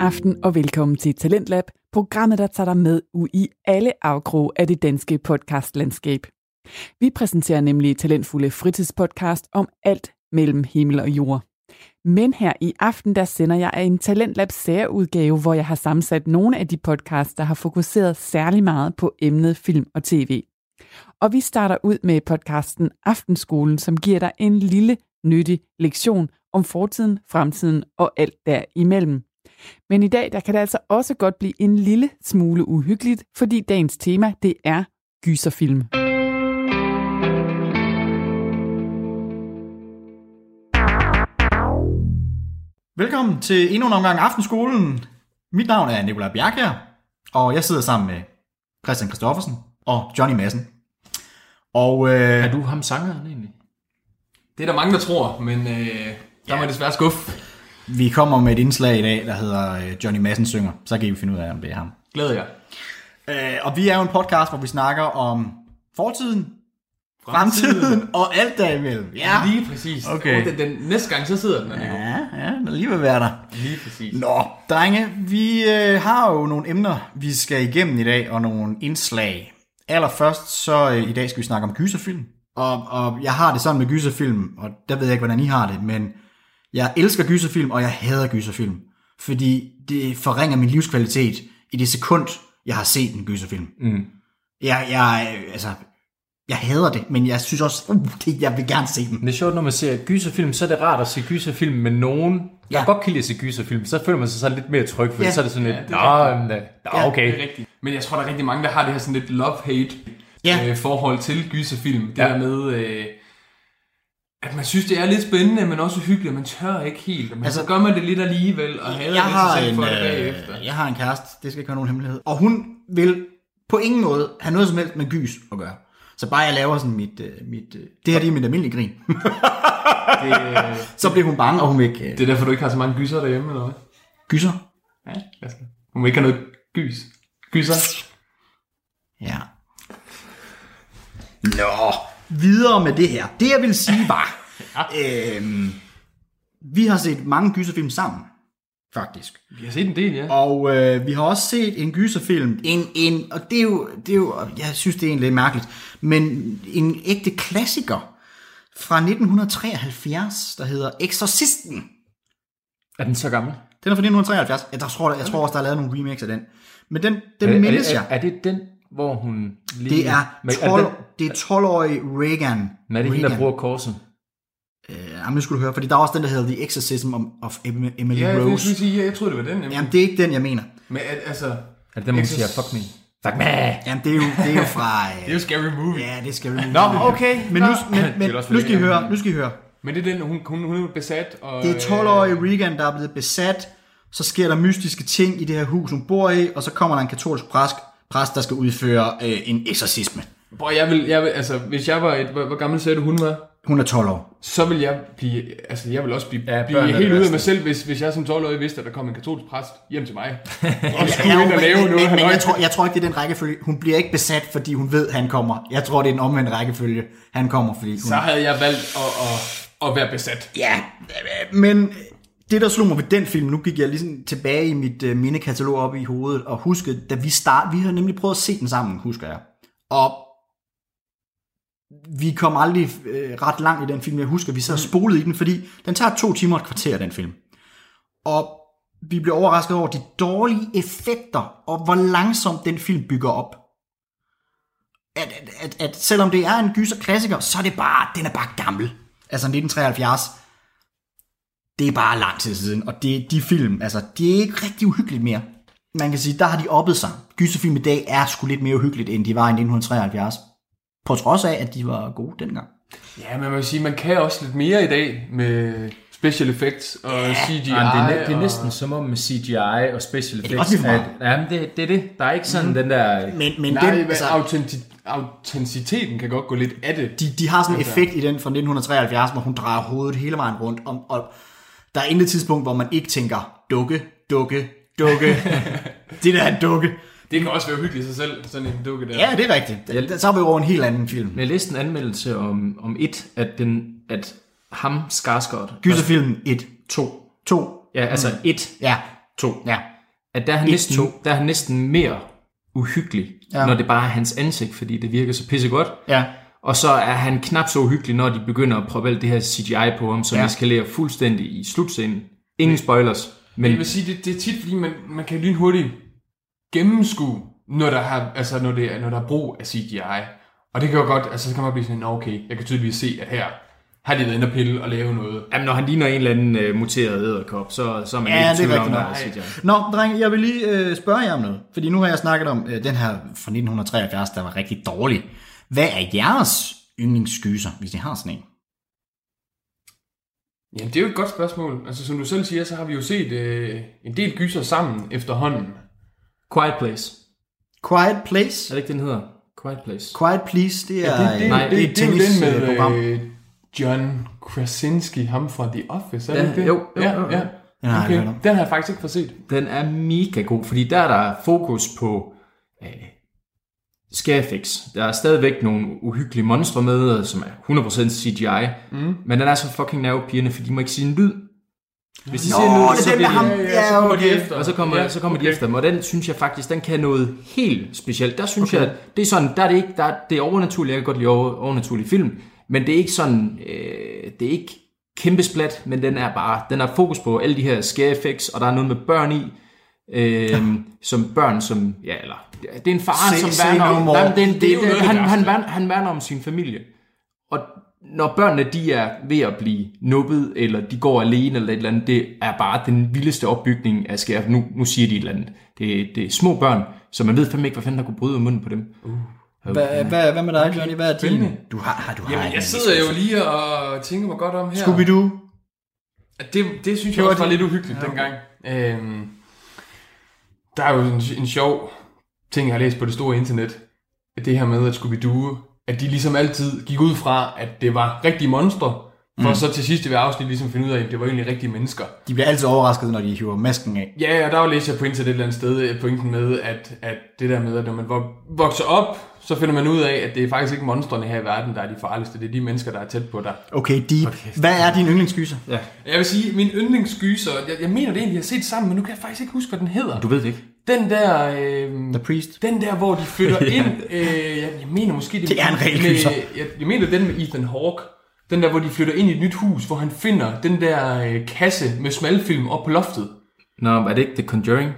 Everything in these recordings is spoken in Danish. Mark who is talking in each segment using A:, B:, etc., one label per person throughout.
A: aften og velkommen til Talentlab, programmet, der tager dig med ud i alle afkrog af det danske podcastlandskab. Vi præsenterer nemlig talentfulde fritidspodcast om alt mellem himmel og jord. Men her i aften, der sender jeg en Talentlab særudgave, hvor jeg har sammensat nogle af de podcasts, der har fokuseret særlig meget på emnet film og tv. Og vi starter ud med podcasten Aftenskolen, som giver dig en lille, nyttig lektion om fortiden, fremtiden og alt derimellem. Men i dag, der kan det altså også godt blive en lille smule uhyggeligt, fordi dagens tema, det er gyserfilm.
B: Velkommen til endnu en omgang Aftenskolen. Mit navn er Nikolaj Bjerg her, og jeg sidder sammen med Christian Christoffersen og Johnny Madsen. Og øh,
C: Er du ham sangeren egentlig?
D: Det er der mange, der tror, men øh, der må jeg desværre skuffe.
B: vi kommer med et indslag i dag, der hedder øh, Johnny Madsen synger. Så kan I jo finde ud af, om det er ham.
D: Glæder jeg.
B: Øh, og vi er jo en podcast, hvor vi snakker om fortiden, fremtiden og alt derimellem. Ja,
D: Lige præcis.
B: Okay.
D: Og Den, den, næste gang, så sidder den der, Nico.
B: ja, ja der lige vil være der.
D: Lige præcis.
B: Nå, drenge, vi øh, har jo nogle emner, vi skal igennem i dag, og nogle indslag. Allerførst, så øh, i dag skal vi snakke om gyserfilm. Og, og jeg har det sådan med gyserfilm, og der ved jeg ikke, hvordan I har det, men jeg elsker gyserfilm, og jeg hader gyserfilm. Fordi det forringer min livskvalitet i det sekund, jeg har set en gyserfilm.
C: Mm.
B: Jeg, jeg, øh, altså, jeg hader det, men jeg synes også, uh, det, jeg vil gerne se dem.
C: Det er sjovt, når man ser gyserfilm, så er det rart at se gyserfilm med nogen, der
B: Ja.
C: ja. godt kan lide at se gyserfilm. Så føler man sig så lidt mere tryg, for
B: Ja.
C: ja. så er det sådan lidt,
D: det
C: ja,
D: er
C: det nå, jamen, da- nå,
B: Ja,
C: okay.
D: Det er rigtigt. Men jeg tror, der er rigtig mange, der har det her sådan lidt love-hate
B: Ja.
D: øh, forhold til gyserfilm. Det
C: Ja.
D: ja. der med, øh, at man synes, det er lidt spændende, men også hyggeligt, og man tør ikke helt.
B: Altså-
D: Men altså, så gør man det lidt alligevel, og hader
B: jeg
D: lidt
B: har,
D: sig selv
B: en,
D: for det bagefter.
B: øh, jeg har en kæreste, det skal ikke være nogen hemmelighed. Og hun vil på ingen måde have noget som helst med gys at gøre. Så bare jeg laver sådan mit... Øh, mit øh, det her det er mit almindelige grin.
D: Det, øh,
B: så bliver hun bange, og hun vil ikke... Øh,
D: det er derfor, du ikke har så mange gyser derhjemme, eller hvad?
B: gyser?
D: Ja, altså. Du må ikke have noget gys. Gyser.
B: Ja. Nå, videre med det her. Det jeg vil sige var... øhm, vi har set mange gyserfilm sammen, faktisk.
D: Vi har set en del, ja.
B: Og øh, vi har også set en gyserfilm. En, en, og det er, jo, det er jo, jeg synes det er egentlig lidt mærkeligt, men en ægte klassiker fra 1973, der hedder Exorcisten.
C: Er den så gammel?
B: Den er fra 1973. Jeg tror, jeg tror også, der er lavet nogle remakes af den. Men den, den
C: Øh, er,
B: mindes
C: er,
B: jeg.
C: det, er, er det den, hvor hun lige...
B: det er,
C: Men
B: 12,
C: er den,
B: det er 12-årige Reagan.
C: men er det hende, der
B: Reagan.
C: bruger korset?
B: Øh, jamen, det skulle du høre, fordi der er også den, der hedder The Exorcism of- of Em- Emily
D: Ja, det skulle
B: Rose.
D: jeg sige, ja, jeg troede, det var den. Nemlig.
B: Jamen, det er ikke den, jeg mener.
D: Men at, altså,
C: Er det den, hvor hun
D: Exorc-
C: siger, "Ah, fuck me? Fuck me!
B: Jamen, det er jo, det er jo fra...
D: det er
B: Øh,
D: jo Scary Movie.
B: ja, det skal vi
C: Nå, okay.
B: Men, nu, men, men
C: Det er også
B: nu skal I
C: Reagan.
B: høre, nu skal I høre.
D: Men det er den, hun, hun, hun er besat. Og, øh,
B: Det er 12-årige Regan, der er blevet besat. Så sker der mystiske ting i det her hus, hun bor i, og så kommer der en katolsk præst, præst der skal udføre øh, en eksorcisme.
D: Øh, bror, jeg vil, jeg vil, altså, hvis jeg var et, hvor, hvor gammel sagde du, hun var?
B: Hun er 12 år.
D: Så vil jeg blive, altså jeg vil også blive,
C: Ja,
D: ja,
C: børn er
D: blive
C: det
D: helt ude af
C: værste.
D: mig selv, hvis, hvis jeg som 12-årig vidste, at der kom en katolsk præst hjem til mig. Og skulle
B: Ja,
D: ind og lave
B: men,
D: noget.
B: men, men
D: halløj.
B: jeg, tror, jeg tror ikke, det er den rækkefølge. Hun bliver ikke besat, fordi hun ved, han kommer. Jeg tror, det er en omvendt rækkefølge. Han kommer, fordi hun...
D: Så havde jeg valgt at, at, at være besat.
B: Ja, men det, der slog mig ved den film, nu gik jeg ligesom tilbage i mit øh, mindekatalog op i hovedet, og huskede, da vi start, vi har nemlig prøvet at se den sammen, husker jeg. Og vi kom aldrig øh, ret langt i den film, jeg husker, vi sad og spolede i den, fordi den tager to timer og et kvarter, den film. Og vi blev overrasket over de dårlige effekter, og hvor langsomt den film bygger op. At, at, at, at selvom det er en gyser klassiker, så er det bare, den er bare gammel. Altså 1973, det er bare lang tid siden, og det, de film, altså, det er ikke rigtig uhyggeligt mere. Man kan sige, der har de oppet sig. Gyserfilm i dag er sgu lidt mere uhyggeligt, end de var i 1973. På trods af, at de var gode dengang.
D: Ja, men man vil sige, man kan også lidt mere i dag med special effects og CGI.
C: Ja, det, er, næ- det er
D: og-
C: næsten som om med CGI og special effects.
B: også lige for meget? Mhm.
C: at- Jamen, det, det er det. Der er ikke sådan mm. den der...
B: Men, men
D: Nej,
B: den,
D: men
B: altså,
D: autenti- autenticiteten kan godt gå lidt af det.
B: de, de har sådan en effekt i den fra 1973, hvor hun drejer hovedet hele vejen rundt. Om, og der er intet tidspunkt, hvor man ikke tænker, dukke, dukke, dukke. det der er en dukke.
D: Det kan også være hyggeligt i sig selv, sådan en dukke der.
B: Ja, det er rigtigt. Så er vi over en helt anden film.
C: Jeg læste en anmeldelse om, om et, at, den, at ham, Skarsgård...
B: Gyserfilm 1, 2, 2,
C: Ja, altså et,
B: Mm. ja,
C: to.
B: ja.
C: at der er han, næsten,
B: to.
C: der er han næsten mere uhyggelig,
B: Ja.
C: ja. når det bare er hans ansigt, fordi det virker så pissegodt.
B: Ja.
C: Og så er han knap så uhyggelig, når de begynder at proppe alt det her CGI på ham, som
B: Ja.
C: ja. eskalerer fuldstændig i slutscenen. Ingen spoilers, men
D: Jeg vil sige, det, det er tit, fordi man, man kan lynhurtigt gennemskue, når der, har, altså, når, det er, når der er brug af CGI. Og det kan jo godt, altså så kan man blive sådan, "Nå, okay, jeg kan tydeligvis se, at her har de været inde og pille og lave noget.
C: jamen, når han ligner en eller anden uh, muteret æderkop, så, så er man
B: Ja,
C: ikke
B: det er
C: i tvivl om,
B: rigtigt
C: der
B: nok.
C: er CGI.
B: Nå, dreng, jeg vil lige øh, spørge jer om noget. Fordi nu har jeg snakket om øh, den her fra 1973, der var rigtig dårlig. Hvad er jeres yndlingsskyser, hvis I har sådan en?
D: Jamen, det er jo et godt spørgsmål. Altså, som du selv siger, så har vi jo set øh, en del gyser sammen efterhånden.
C: Quiet Place.
B: Quiet Place?
C: Er det ikke, den hedder? Quiet Place.
B: Quiet Please, det er,
D: Øh. det, det,
C: nej,
D: nej, det,
B: et
D: det, det er jo den med
B: tennisprogram.
D: øh, John Krasinski, ham fra The Office, er det
C: Ja,
D: ikke det?
C: jo, jo,
D: ja,
C: jo, jo.
D: ja.
B: Den har jeg
D: Okay.
B: hørt om.
D: Den har jeg faktisk ikke fået set.
C: Den er mega god, fordi der er der fokus på øh, Scarefix. Der er stadigvæk nogle uhyggelige monstre med, som er 100% CGI, mm. men den er så fucking nervepirrende, for de må ikke sige en lyd. Hvis de
B: Nå,
C: siger en lyd,
B: det
C: så
B: er den med
C: bliver
B: ham.
C: de,
B: Ja,
D: så kommer
B: okay.
D: de efter.
C: og så kommer, ja, så kommer okay. de efter dem, og den synes jeg faktisk, den kan noget helt specielt. Der synes okay. jeg, at det er sådan, der er det ikke, der er, det er overnaturligt, jeg kan godt lide over, overnaturlig film, men det er ikke sådan, øh, det er ikke kæmpe splat, men den er bare, den har fokus på alle de her scare effects, og der er noget med børn i, Øhm, som børn, som, ja, eller, det er en far,
B: Se- se
C: som værner
B: no
C: om,
B: more.
C: nej, men det, er en- det,
D: Det er jo
C: det,
D: noget af det
C: han,
D: værste.
C: han, værner, han værner om sin familie. Og når børnene, de er ved at blive nubbet, eller de går alene, eller et eller andet, det er bare den vildeste opbygning af skærf. Nu, nu siger de et eller andet. Det, det er små børn, så man ved fandme ikke, hvad fanden der kunne bryde ud af munden på dem.
B: Hvad, hvad, hvad med dig, Johnny? Hvad er din? Du har, har- du har
D: Jamen, jeg sidder jo lige og tænker mig godt om her.
B: Scooby-Doo.
D: At Det, det synes
B: Det
D: jeg
B: var
D: også var
B: det.
D: lidt uhyggeligt ja, dengang. Øhm, der er jo en, en sjov ting, jeg har læst på det store internet. At Det her med, at Scooby-Doo, at de ligesom altid gik ud fra, at det var rigtige monstre, for mm. så til sidst i hver afsnit ligesom finde ud af, at det var egentlig rigtige mennesker.
B: De bliver altid overrasket, når de hiver masken af.
D: Ja, og der læste jeg på internet et eller andet sted øh, pointen med, at, at det der med, at når man vok- vokser op, så finder man ud af, at det er faktisk ikke monstrene her i verden, der er de farligste. Det er de mennesker, der er tæt på dig.
B: Okay, deep. Hvad er din yndlingsskyser?
C: Ja.
D: Jeg vil sige, min yndlingsgyser, jeg, jeg mener det egentlig, jeg har set sammen, men nu kan jeg faktisk ikke huske, hvad den hedder.
C: Du ved det ikke.
D: Den der, øh,
B: The Priest.
D: den der, hvor de flytter ind, øh, jeg, jeg mener måske...
B: Det er en
D: med-
B: regelgyser.
D: Jeg, jeg mener den med Ethan Hawke. Den der, hvor de flytter ind i et nyt hus, hvor han finder den der øh, kasse med smalfilm op på loftet.
C: Nå, er det ikke The Conjuring?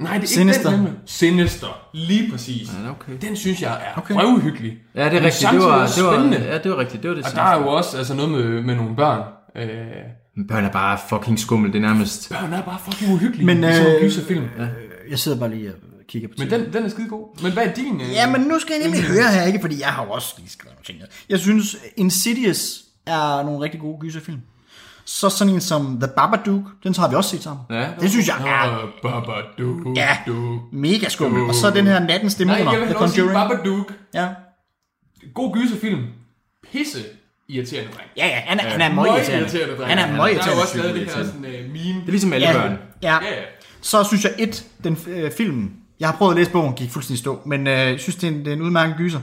D: Nej, det er
B: Sinister.
D: ikke den nemlig. Sinister, lige præcis.
C: Ja, okay.
D: Den synes jeg er okay. røvhyggelig.
C: Ja, det er
D: Men
C: rigtigt. Det
D: samtidig
C: var,
D: også
C: det
D: spændende.
C: var, ja, det var rigtigt. Det var det
D: Og der er jo også altså noget med, med nogle børn. Øh,
C: sidste. Børn er bare fucking skummel, det er nærmest.
D: børn er bare fucking uhyggelige,
B: Men,
D: men, øh, ligesom
B: øh,
D: en gyserfilm. Ja.
B: Jeg sidder bare lige og kigger på
D: Men den, den er skide god. Men hvad er din? Øh,
B: Ja, men nu skal jeg nemlig høre her, ikke? Fordi jeg har jo også lige skrevet nogle ting ned. Jeg synes, Insidious er nogle rigtig gode gyserfilm. Så sådan en som The Babadook, den har vi også set sammen.
C: Ja.
B: det synes jeg er
D: Øh, Babadook.
B: ja, mega skummel. Og så den her Nattens
D: Nej,
B: Dæmoner,
D: jeg vil
B: The
D: også sige
B: Conjuring.
D: Babadook.
B: Ja.
D: God gyserfilm. Pisse irriterende, dreng.
B: Ja, ja, han er, han er møgirriterende.
D: dreng.
B: Han er
D: Der er jo også
B: møgirriterende.
D: lavet det her sådan uh, meme.
C: Det er ligesom alle børn.
B: Ja, ja.
D: Ja, ja.
B: Så synes jeg, et, den øh, film, jeg har prøvet at læse bogen, gik fuldstændig i stå, men øh, jeg synes, det er en, det er en udmærket gyser.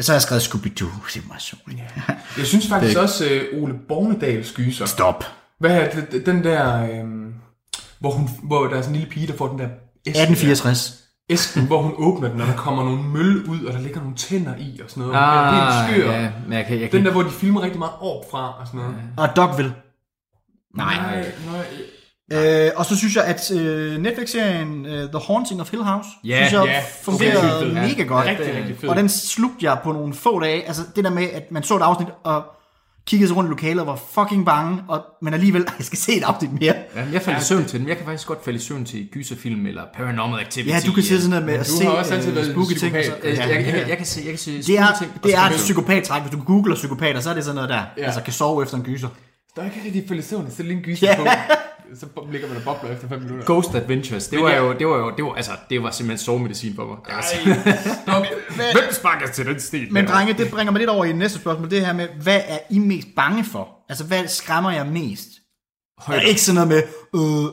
B: Så har jeg skrevet Scooby-Doo, det er meget sjovt. Ja.
D: Jeg synes faktisk også uh, Ole Bornedals gyser.
B: Stop.
D: Hvad er det, den der... øhm, hvor, hun, hvor der er sådan en lille pige, der får den der... æske-
B: 1864.
D: Æsken, hvor hun åbner den, og der kommer nogle møl ud, og der ligger nogle tænder i og sådan noget. Ah, det er
C: Ah,
D: helt skør.
C: ja, men jeg kan, jeg kan
D: Den der, hvor de filmer rigtig meget op fra og sådan noget.
B: Og Dogville. Nej.
D: Nej, nej.
B: Øh, og så synes jeg, at øh, Netflix-serien øh, The Haunting of Hill House,
C: Ja,
B: synes jeg
D: ja.
B: fungerede
D: Sindssygt fed.
B: mega godt.
D: Rigtig, rigtig fed.
B: Og den slugte jeg på nogle få dage. Altså det der med, at man så et afsnit og kiggede sig rundt i lokalet og var fucking bange, og, men alligevel, jeg skal se et afsnit mere.
C: Ja, jeg faldt i søvn til dem. Jeg kan faktisk godt falde i søvn til gyserfilm eller paranormal activity.
B: Ja, du kan sidde sådan noget med at
D: du
B: se
D: har også altid
B: øh,
D: været en
B: spooky ting. og så-
D: psykopat. Altså,
C: Øh,
B: Ja,
C: Jeg, jeg, jeg, jeg, kan se, jeg kan se
B: Det er,
C: ting,
B: det er et psykopat-træk. Hvis du googler psykopater, så er det sådan noget der.
D: Ja.
B: Altså kan sove efter en gyser.
D: Der er ikke rigtig faldet i søvn, så lige en gyser
B: Ja.
D: på. Så ligger man og bobler efter 5 minutter.
C: Ghost Adventures. Det var jo, det var jo, det var, altså, det var simpelthen sovemedicin for mig. Jeg var sådan,
D: Stop.
C: Hvem sparker til den stil?
B: Men drenge, det bringer mig lidt over i det næste spørgsmål. Det her med, hvad er I mest bange for? Altså, hvad skræmmer jeg mest? Og ikke sådan noget med,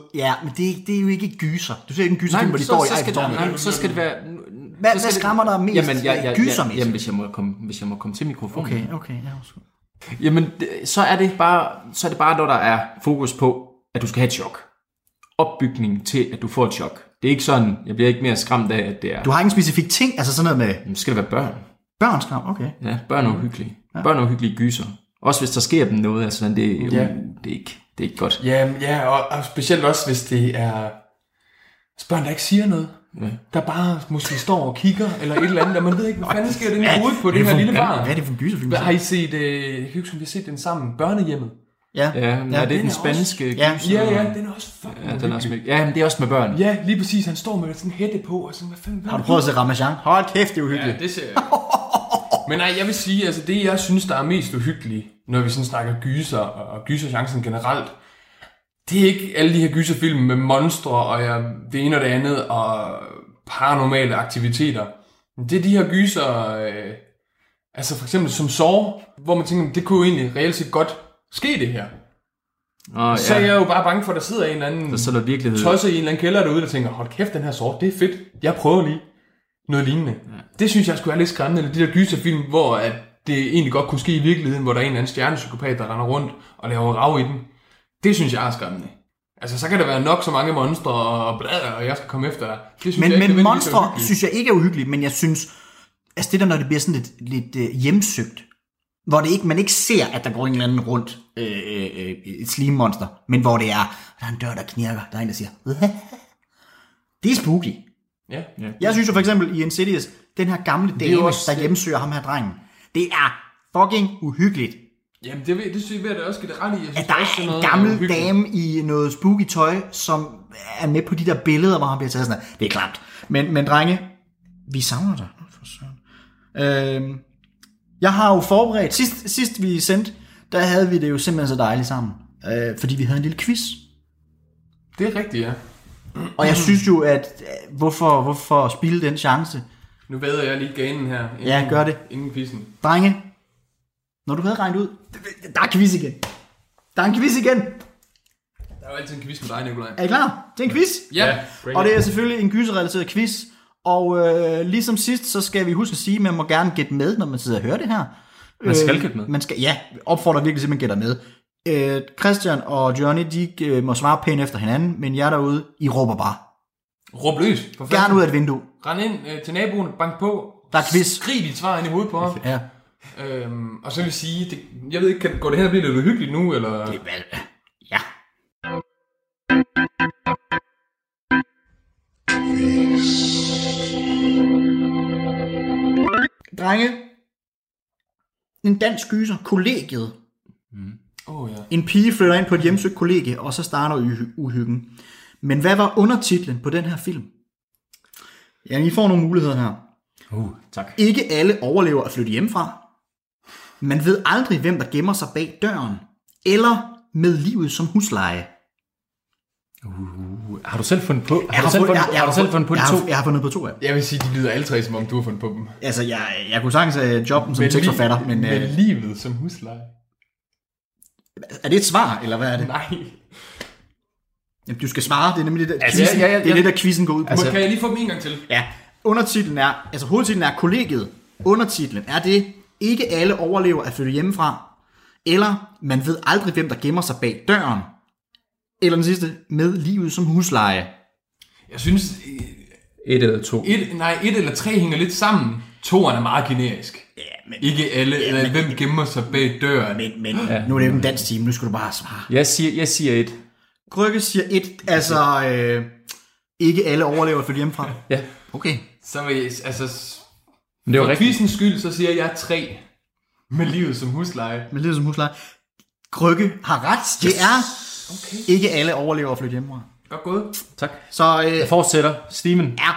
B: øh, ja, men det, er- det er jo ikke gyser. Du ser ikke en gyserfilm, hvor de står i
C: så, så, skal det,
B: Eiffeltårnet.
C: nej, så skal det være...
B: Hvad-
C: så skal
B: hvad
C: det-
B: skræmmer dig mest?
C: Jamen, jeg, jeg,
B: Gyser
C: jeg,
B: mest?
C: jamen hvis, jeg må komme, hvis jeg må komme til mikrofonen.
B: Okay, okay, ja, undskyld.
C: Jamen, det- så er det bare, så er det bare, når der er fokus på, at du skal have et chok. Opbygning til, at du får et chok. Det Det er ikke sådan, jeg bliver ikke mere skræmt af, at det er...
B: Du har ikke en specifik ting, altså sådan noget med
C: Jamen, skal det være børn?
B: børnskram, okay.
C: Ja, børn er
D: Mm.
C: uhyggelige. Ja. Børn er uhyggelige gyser. Også hvis der sker dem noget, altså sådan, det,
D: Ja.
C: ja. det, er ikke, det er ikke godt.
D: Ja, ja og, og specielt også, hvis det er hvis børn, der ikke siger noget. Ja. Der bare måske står og kigger, eller et eller andet, og man ved ikke, hvad fanden sker det i hovedet på det her lille
B: Hvad
D: barn.
B: er det for en gyserfilm?
D: Hvad, har I set, øh, jeg kan huske, om vi har set den sammen, Børnehjemmet?
B: Ja,
C: Ja, men ja, er det
D: den
C: den
D: er
C: spanske også...
B: Ja.
C: gyser?
D: Ja, ja, den er også fucking
C: ja, den er også
D: uhyggelig.
C: mega- ja, men det er også med børn.
D: Ja, lige præcis, han står med sådan en hætte på, og sådan, hvad fanden, hvad
B: Har du prøvet at se Ramachan? Hold kæft, det er uhyggeligt.
D: Ja, det ser jeg. Men nej, jeg vil sige, altså det jeg synes, der er mest uhyggeligt, når vi sådan snakker gyser og og gyserchancen generelt, det er ikke alle de her gyserfilm med monstre og ja, det ene og det andet og paranormale aktiviteter. Men Det er de her gyser, øh, altså for eksempel som sår, hvor man tænker, det kunne jo egentlig reelt set godt ske det her.
C: Og,
D: Så
C: ja,
D: er jeg jo bare bange for, at der sidder en eller anden
C: der så er der
B: Mm.
C: virkelighed.
D: tosset i en eller anden kælder derude, der tænker, hold kæft, den her sort, det er fedt. Jeg prøver lige noget lignende.
B: Mm.
D: Ja. Det synes jeg skulle er lidt skræmmende, eller de der gyserfilm, hvor at det egentlig godt kunne ske i virkeligheden, hvor der er en eller anden stjernepsykopat, der render rundt og laver rav i den. Det synes jeg er skræmmende. Altså, så kan der være nok så mange monstre og blader, og jeg skal komme efter dig. Det synes
B: Men,
D: jeg ikke
B: men
D: nødvendigvis er
B: monstre
D: uhyggeligt.
B: synes jeg ikke er uhyggeligt, men jeg synes, altså det der, når det bliver sådan lidt, lidt øh, hjemsøgt, hvor det ikke, man ikke ser, at der går en eller anden rundt øh, øh, øh, et slimmonster, men hvor det er, der er en dør, der knirker, der er en, der siger, det er spooky.
D: Ja. ja.
B: Jeg synes jo for eksempel i Insidious, den her gamle dame,
D: også- øh,
B: også, der hjemsøger ham her drengen, det er fucking uhyggeligt.
D: Jamen, det, ved- det synes jeg, ved at det også skal det ret i. Jeg synes,
B: At der
D: også
B: er en
D: noget
B: gammel
D: uhyggeligt.
B: dame i noget spooky tøj, som er med på de der billeder, hvor han bliver taget sådan her. Det er klamt. Men, men drenge, vi savner dig. Nå, For søren. Øhm, jeg har jo forberedt, sidst, sidst vi sendte, der havde vi det jo simpelthen så dejligt sammen. Øh, fordi vi havde en lille quiz.
D: Det er rigtigt, ja.
B: Og jeg synes jo, at øh, hvorfor, hvorfor spilde den chance?
D: Nu vader jeg lige ganen her. Inden,
B: Ja, gør det.
D: Inden quizzen.
B: Drenge, når du havde regnet ud, der er quiz igen. Der er en quiz igen.
D: Der er jo altid en quiz med dig, Nikolaj.
B: Er I klar? Det er en quiz.
D: Ja,
B: Og det er selvfølgelig en gyserrelateret quiz. Og øh, ligesom sidst, så skal vi huske at sige, at man må gerne gætte med, når man sidder og hører det her. Øh,
C: Man skal gætte med.
B: Man skal, ja, opfordrer virkelig til, at man gætter med. Øh, Christian og Johnny, de øh, må svare pænt efter hinanden, men jer derude, I råber bare.
D: Råb løs. For fanden.
B: Gerne ud af et vindue.
D: Rend ind øh, til naboen, bank på.
B: Der er quiz.
D: Skrig dit svar ind i hovedet på ham.
B: Ja.
D: øhm, og så vil jeg sige, det, jeg ved ikke, kan, går det hen og bliver lidt uhyggeligt nu, eller?
B: Ja. Drenge, en dansk gyser, kollegiet,
D: Åh oh, ja.
B: En pige flytter ind på et hjemsøgt kollegie, og så starter uhy- uhyggen. Men hvad var undertitlen på den her film? Ja, I får nogle muligheder her.
C: Uh, tak.
B: Ikke alle overlever at flytte hjemmefra. Man ved aldrig, hvem der gemmer sig bag døren. Eller med livet som husleje.
E: Uh, Har du selv fundet på? Har du selv
B: fund-
E: fundet, har du selv fundet på de
B: jeg
E: to?
B: Har, jeg har fundet på to af dem.
D: Jeg vil sige, de lyder alle tre, som om du har fundet på dem.
B: Altså, jeg, jeg kunne sagtens have jobben som tekstforfatter, men
D: med
B: øh,
D: livet som husleje.
B: er det et svar, eller hvad er det?
D: Nej.
B: Jamen, du skal svare, det er nemlig det der,
C: Altså,
B: quizzen,
C: ja, ja, ja.
B: Det, er det, der quizzen går ud på.
D: Altså, kan jeg lige få dem en gang til?
B: Ja, undertitlen er, altså hovedtitlen er kollegiet. Undertitlen er det, ikke alle overlever at flytte hjemmefra. Eller, man ved aldrig, hvem der gemmer sig bag døren. Eller den sidste, med livet som husleje.
D: Jeg synes, øh,
C: Et eller to.
D: et, nej, et eller tre hænger lidt sammen. Toeren er meget generisk.
B: Ja, men,
D: Ikke alle, ja, eller hvem gemmer sig bag døren.
B: men, men ja. nu er det jo ikke en dansk time, nu skal du bare svare.
C: Jeg siger, jeg siger et.
B: Krykke siger et, altså, øh, ikke alle overlever at flytte hjemmefra.
C: Ja.
B: Okay.
D: Så vil jeg, altså, s-
C: Men det var
D: for
C: rigtigt.
D: quizens skyld, så siger jeg tre. Med livet som husleje.
B: Med livet som husleje. Krykke har ret, det er, ikke alle overlever at flytte hjemmefra.
D: Godt gået.
C: Tak.
B: Så øh,
C: Jeg fortsætter. Steven.
B: Ja.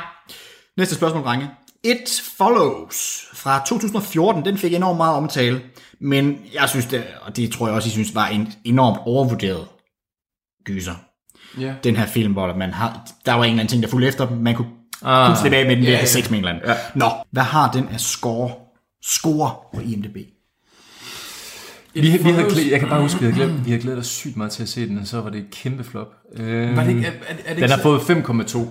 B: Næste spørgsmål, drenge. It Follows fra 2014, den fik enormt meget omtale, men jeg synes, det, og det tror jeg også, I synes, var en enormt overvurderet gyser.
D: Ja.
B: Den her film, hvor man har, der var en eller anden ting, der fulgte efter dem, man kunne ah, kun slippe af med den yeah, ved at have sex med en eller anden. Yeah. Nå, hvad har den af score? Score på IMDb.
C: Vi, vi havde, glæ- jeg kan bare huske, vi havde,
D: Ah.
C: glædet, vi havde glædet os sygt meget til at se den, og så var det et kæmpe flop. Øhm,
D: Var det ikke, er, er, er det ikke
C: den har
D: så-
C: fået 5,2.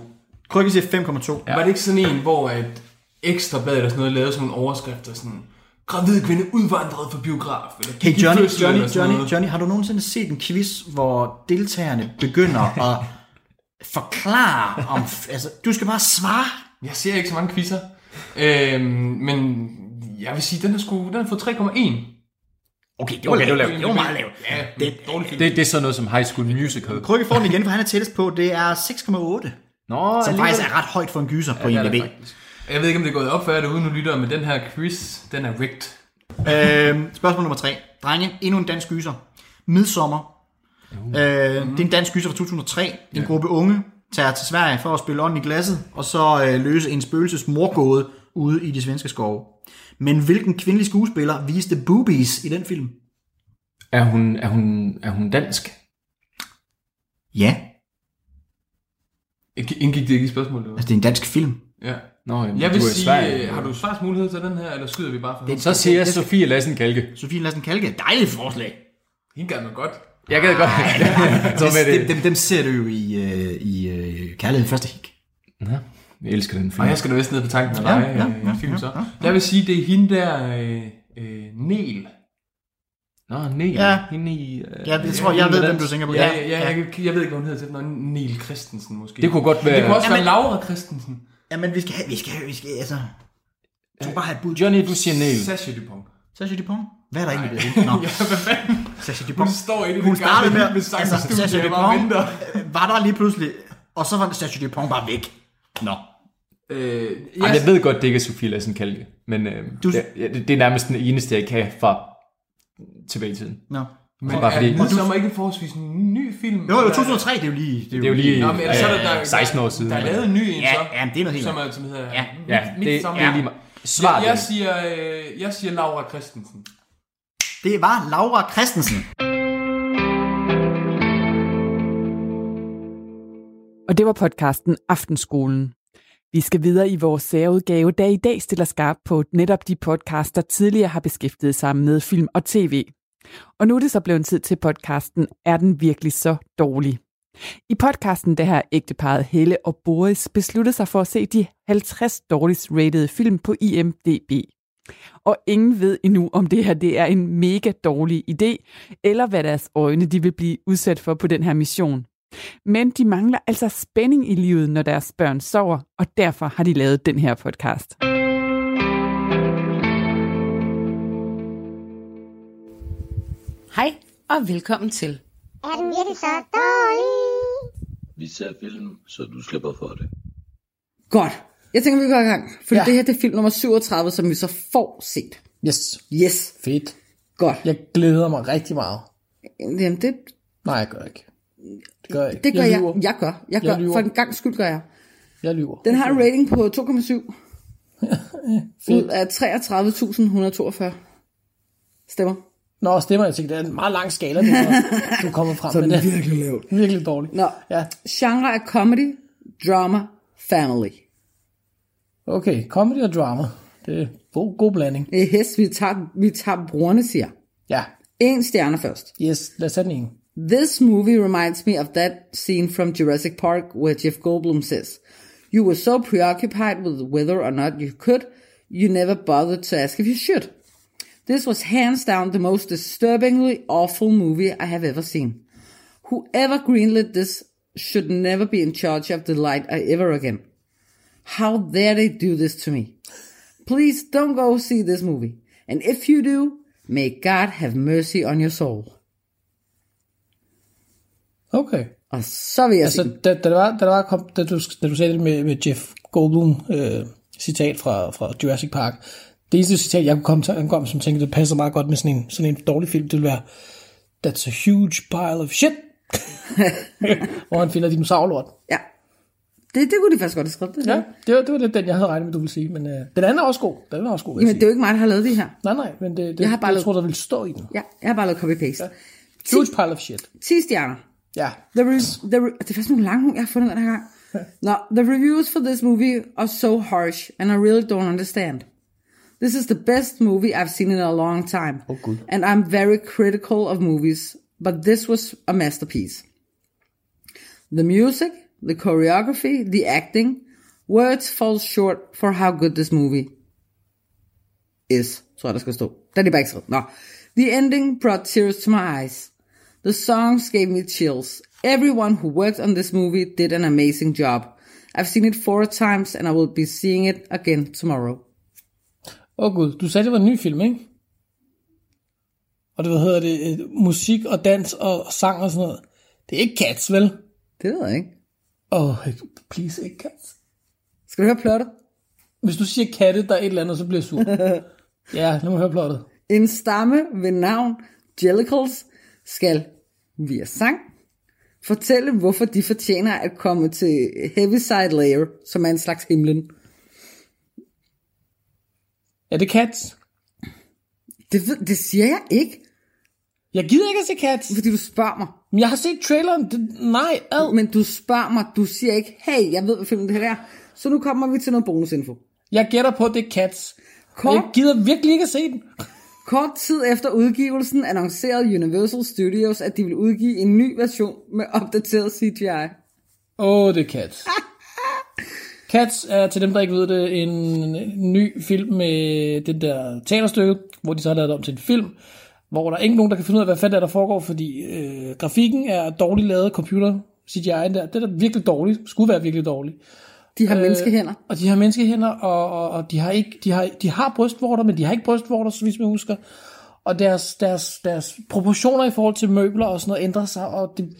B: Krykke siger 5,2. Ja.
D: Var det ikke sådan en, hvor at ekstrabladet eller sådan noget lavede sådan nogle overskrifter, sådan, gravid kvinde udvandret fra biograf, eller
B: Hey
D: gik i
B: Johnny,
D: fødsel,"
B: Johnny,
D: eller sådan
B: Johnny,
D: noget.
B: Johnny, har du nogensinde set en quiz, hvor deltagerne begynder at forklare om... altså, du skal bare svare.
D: Jeg ser ikke så mange quizzer. Øhm, men jeg vil sige, den har, sgu, den har fået 3,1.
B: Okay, det var, okay, det var,
D: lavt.
B: det var meget lavt.
D: Ja,
B: Det-
D: det, dårlig film.
C: Det, det er sådan noget som High School Musical.
B: Krykke får den igen, for han er tættest på. Det er 6,8.
C: Nå,
B: Som
C: alligevel.
B: faktisk er ret højt for en gyser på
C: Ja, det er
B: IMDb.
C: det faktisk.
D: Jeg ved ikke, om det er gået op for jer derude nu, lytter, men den her quiz, den er rigged.
B: Øhm, spørgsmål nummer 3. Drenge, endnu en dansk gyser. Midsommer. Uh. Øh, det er en dansk gyser fra 2003. En gruppe unge tager til Sverige for at spille ånden i glasset, og så øh, løse en spøgelses morgåde ude i de svenske skove. Men hvilken kvindelig skuespiller viste boobies i den film?
C: Er hun, er hun, er hun dansk?
B: Ja,
D: Ikke- Indgik det ikke i spørgsmålet? eller hvad?
B: altså det er en dansk film.
D: Ja.
C: Nå, jamen,
D: Jeg vil
C: du er i
D: sige,
C: Sverige.
D: øh, har du svarsmulighed til den her, eller skyder vi bare for
B: Det-
D: det...
C: Så siger Sofie Lassen Kalke.
B: Sofie Lassen Kalke, dejligt forslag.
D: Hende gad man godt.
C: Jeg gad godt. Så med det.
B: Altså, dem ser du jo i, øh, i øh, Kærlighed i første hik.
C: Jeg elsker den film.
D: Og jeg skal da vist ned på tanken med dig, ja, ja, ja, film så. Ja, ja. Jeg vil sige, det er hende der, øh, øh, Nel.
C: Nå, nej.
B: Ja.
C: Hende i, øh,
B: Ja, jeg tror, jeg ved, hvem du tænker på.
D: Ja, ja, ja, Jeg, jeg, jeg ved ikke, hvad hun hedder til. Nå, Nel Christensen måske.
C: Det kunne godt være...
D: det kunne også
B: Ja,
D: være
B: men-
D: Laura Christensen.
B: Jamen, vi skal have, vi skal have, vi skal altså... Jeg tror bare have et bud.
C: Johnny, du siger Neil.
D: Sasha Dupont.
B: Sasha Dupont? Hvad er der egentlig ved hende? Nå,
D: Ja, hvad fanden?
B: Sasha
D: Hun
B: Dupont.
D: står inde i
B: Hun
D: det
B: startede med,
D: gamle med sang
B: altså,
D: altså, studie,
B: Sasha
D: jeg bare
B: Dupont
D: venter.
B: øh, var der lige pludselig, og så var Sasha Dupont bare væk. Nå.
D: Øh,
C: Ej,
D: jeg,
C: jeg ved godt, det ikke er Sofie Lassen Kalke, men øh,
B: Du-
C: du... ja, det, det er nærmest den eneste, jeg kan fra tilbage i tiden.
B: Nå.
D: men
C: bare fordi-
D: er Midsommer ikke en forholdsvis ny film?
B: Jo, jo,
D: Eller-
B: 2003, det er jo lige...
C: Det er jo lige
D: Nå, men ellers så er
C: øh,
D: der, der,
C: 16 år siden.
D: Der er lavet en ny en
B: Ja,
D: så,
B: ja, men det er noget helt
D: som,
B: andet.
D: er, som hedder
B: Ja.
C: Ja, det, det
D: Midsommar.
C: er lige meget. Svar
D: jeg,
C: den.
D: jeg, siger, øh, jeg siger Laura Christensen.
B: Det var Laura Christensen.
A: Og det var podcasten Aftenskolen. Vi skal videre i vores særudgave, der i dag stiller skarp på netop de podcasts, der tidligere har beskæftiget sig med film og tv. Og nu er det så blevet tid til podcasten Er den virkelig så dårlig? I podcasten der har ægteparet Helle og Boris besluttet sig for at se de 50 dårligst rated film på IMDb. Og ingen ved endnu, om det her det er en mega dårlig idé, eller hvad deres øjne de vil blive udsat for på den her mission. Men de mangler altså spænding i livet, når deres børn sover, og derfor har de lavet den her podcast.
F: Hej og velkommen til.
G: Er den virkelig så dårlig?
H: Vi ser film, så du slipper for det.
I: Godt. Jeg tænker, vi går i gang. Fordi
J: Ja.
I: ja. det her det er film nummer 37, som vi så får set.
J: Yes,
I: Yes.
J: fedt.
I: Godt.
J: Jeg glæder mig rigtig meget.
I: Jamen, det,
J: Nej, jeg gør ikke. Det gør jeg ikke.
I: det gør jeg.
J: lyver.
I: Jeg, jeg gør. Jeg gør.
J: Jeg
I: Jeg
J: lyver.
I: for en gang skyld gør jeg.
J: Jeg lyver.
I: Den har en rating på 2,7 ud
J: Fedt.
I: af 33.142 stemmer.
J: Nå, stemmer jeg tænkte, det er en meget lang skala, du, har- du kommer frem
I: Så er
J: med
I: den
J: det.
I: virkelig lavt.
J: Virkelig dårligt.
I: Nå.
J: Ja,
I: Genre er comedy, drama, family.
J: okay. Comedy og drama. Det er god, god blanding.
I: Øh, Yes, vi tager, vi tager brugerne, siger.
J: Ja,
I: En stjerne først.
J: yes, lad os tage den ene.
I: This movie reminds me of that scene from Jurassic Park where Jeff Goldblum says, You were so preoccupied with whether or not you could, you never bothered to ask if you should. This was hands down the most disturbingly awful movie I have ever seen. Whoever greenlit this should never be in charge of the light ever again. How dare they do this to me? Please don't go see this movie. And if you do, may God have mercy on your soul.
J: Okay.
I: Og så vil jeg
J: Altså,
I: sige,
J: da, da, det var, da, det var, kom, da, du, da du sagde det med, med Jeff Goldblum, øh, citat fra, fra Jurassic Park, det eneste citat, jeg kunne komme til ankom, som tænkte, det passer meget godt med sådan en, sådan en dårlig film, det ville være, that's a huge pile of shit, hvor han finder dinosaurlort.
I: ja. Det, det kunne de faktisk godt have skrevet det.
J: Ja,
I: her.
J: det var, det var det, den, jeg havde regnet med, du ville sige, men øh, den anden er også god, den er også god, vil jeg
I: Jamen, det er
J: sige.
I: jo ikke mig, der har lavet det her.
J: Nej, nej, men det, det,
I: Jeg har bare
J: jeg
I: lavet-
J: tror, der ville stå i den.
I: Ja, jeg har bare lavet copy-paste. Ja.
J: Huge pile of shit.
I: 10 stjerner.
J: Ja,
I: The re- the re- det er faktisk nogle lange ord, jeg har fundet den her gang. Nå, the reviews for this movie are so harsh, and I really don't understand. This is the best movie I've seen in a long time. Oh, good. And I'm very critical of movies, but this was a masterpiece. The music, the choreography, the acting, words fall short for how good this movie is, tror jeg, der skal stå. Den er bare ikke skrevet. Nå. The ending brought tears to my eyes. The songs gave me chills. Everyone who worked on this movie did an amazing job. I've seen it four times, and I will be seeing it again tomorrow.
J: Åh oh, gud, du sagde, det var en ny film, ikke? Og det, hvad hedder det, øh, musik og dans og sang og sådan noget. Det er ikke Cats, vel?
I: Det ved jeg ikke.
J: Åh, oh, please, ikke Cats.
I: Skal du høre plottet?
J: Hvis du siger katte, der er et eller andet, så bliver jeg sur. ja, lad mig høre plottet.
I: En stamme ved navn Jellicles skal via sang fortælle, hvorfor de fortjener at komme til Heaviside Layer, som er en slags himlen.
J: Er det Cats?
I: Det, ved, det siger jeg ikke,
J: Jeg gider ikke at se Cats.
I: fordi du spørger mig.
J: Men jeg har set traileren. Det, nej, ad.
I: Men du spørger mig, du siger ikke, hey, jeg ved, hvad filmen det her er. Så nu kommer vi til noget bonusinfo.
J: Jeg gætter på, at det er Cats. Og
I: Kort,
J: jeg gider virkelig ikke at se den.
I: kort tid efter udgivelsen annoncerede Universal Studios, at de ville udgive en ny version med opdateret CGI.
J: Åh, oh, det er Cats. Cats er, til dem, der ikke ved det, en ny film med det der teaterstykke, hvor de så har lavet det om til en film, hvor der er ikke nogen, der kan finde ud af, hvad fanden der, der foregår, fordi øh, grafikken er dårligt lavet computer, CGI'en der, det er da virkelig dårligt, skulle være virkelig dårligt.
I: De har øh, menneskehænder.
J: Og de har menneskehænder, og, og, og de har ikke, de har, de har brystvorter, men de har ikke brystvorter, så vidt jeg husker. Og deres, deres, deres proportioner i forhold til møbler og sådan noget ændrer sig, og det,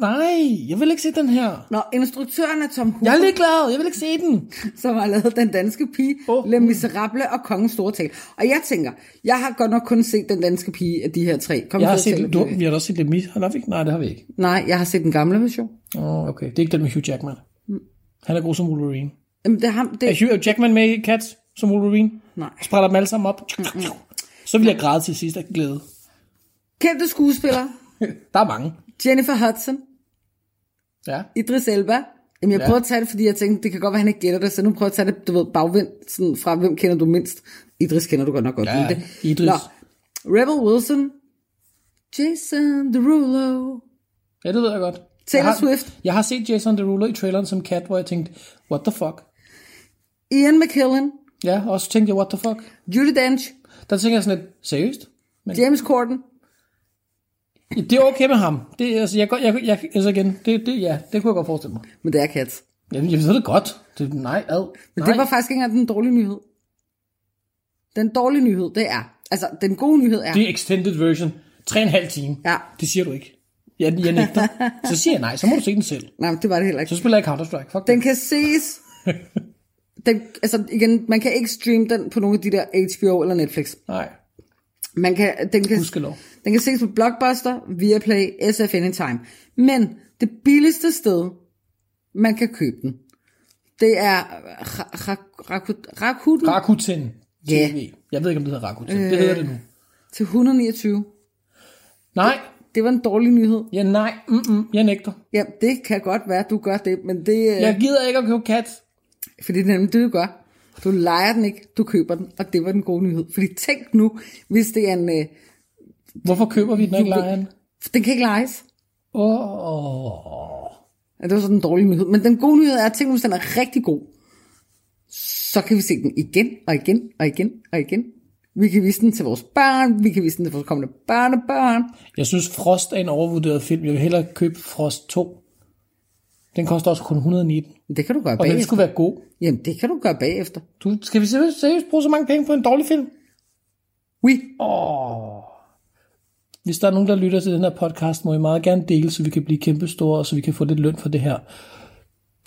J: nej, jeg vil ikke se den her.
I: Når instruktøren er Tom
J: Jeg
I: Hooper,
J: er ligeglad, jeg vil ikke se den.
I: som har lavet Den Danske Pige, oh.
J: Åh.
I: Le Miserable og Kongens Store Tale. Og jeg tænker, jeg har godt nok kun set Den Danske Pige af de her tre. Kom,
J: Jeg har
I: så tæller
J: set,
I: vi.
J: du, vi har da også set det mit. Har vi ikke? Nej, det har vi ikke.
I: Nej, jeg har set den gamle version.
J: Åh, oh, okay. Det er ikke den med Hugh Jackman. Han er god som Wolverine.
I: Jamen, det er ham, det
J: Er Hugh Jackman med i Cats som Wolverine?
I: Nej.
J: Sprætter dem alle sammen op. Så vil jeg græde til sidst af glæde.
I: Kendte skuespillere.
J: Der er mange.
I: Jennifer Hudson,
J: Ja.
I: Idris Elba. Jamen, jeg ja.
J: Ja.
I: prøver at tage det, fordi jeg tænkte, det kan godt være, han ikke gætter det, så nu prøver jeg at tage det, du ved, bagvendt, sådan fra, hvem kender du mindst? Idris kender du godt nok godt.
J: Ja,
I: men det.
J: Idris.
I: Rebel Wilson, Jason Derulo,
J: Ja, det ved jeg godt. jeg
I: Taylor
J: har,
I: Swift.
J: Jeg har set Jason Derulo i traileren som Cat, hvor jeg tænkte, what the fuck?
I: Ian McKellen,
J: Ja, og så tænkte jeg, what the fuck?
I: Judy Dench,
J: Der tænker jeg sådan lidt, seriøst?
I: James Corden.
J: Ja, Det er okay med ham. Det, er- altså, jeg, jeg, jeg, jeg, altså igen, det, det, ja, det kunne jeg godt forestille mig.
I: Men det er Cats.
J: Jeg, jeg ved det godt. Det, nej, ad.
I: Men
J: nej.
I: det var faktisk ikke engang den dårlige nyhed. Den dårlige nyhed, det er. Altså, den gode nyhed er.
J: Det er extended version. 3,5 time.
I: Ja.
J: Det siger du ikke. Jeg, jeg nægter. så siger jeg nej, så må du se den selv.
I: Nej, men det var det heller ikke.
J: Så spiller jeg Counter-Strike. Fuck
I: Den kan ses. Den, altså igen, man kan ikke streame den på nogle af de der HBO eller Netflix.
J: det. Nej,
I: Man kan, den, kan,
J: gudskelov.
I: den kan ses på Blockbuster, Viaplay, SF Anytime. Men det billigste sted, man kan købe den, det er Ra- Ra- Raku- Rakuten
J: Rakuten TV.
I: Ja.
J: Jeg ved ikke, om det hedder Rakuten. Øh. Det hedder det nu.
I: til 129.
J: Nej,
I: Det var en dårlig nyhed.
J: ja nej, mm-mm, jeg nægter.
I: Ja, det kan godt være, du gør det, men det... øh,
J: Jeg gider ikke at købe kat.
I: Fordi det er nemlig det, du gør. Du leger den ikke, du køber den, og det var den gode nyhed. Fordi tænk nu, hvis det er en... Øh,
J: Hvorfor køber vi den ikke lejen?
I: den kan ikke lejes.
J: Åh, oh,
I: Ja, det var sådan en dårlig nyhed. Men den gode nyhed er, at tænk nu, hvis den er rigtig god, så kan vi se den igen og igen og igen og igen. Vi kan vise den til vores børn, vi kan vise den til vores kommende børnebørn.
J: jeg synes Frost er en overvurderet film. Jeg vil hellere købe Frost 2. Den koster også kun 119.
I: Det kan du gøre
J: Og den
I: bagefter.
J: skulle være god.
I: Jamen, det kan du gøre bagefter.
J: Du, skal vi seriøst, seriøst bruge så mange penge på en dårlig film?
I: Oui.
J: Hvis der er nogen, der lytter til den her podcast, må I meget gerne dele, så vi kan blive kæmpestore, og så vi kan få lidt løn for det her.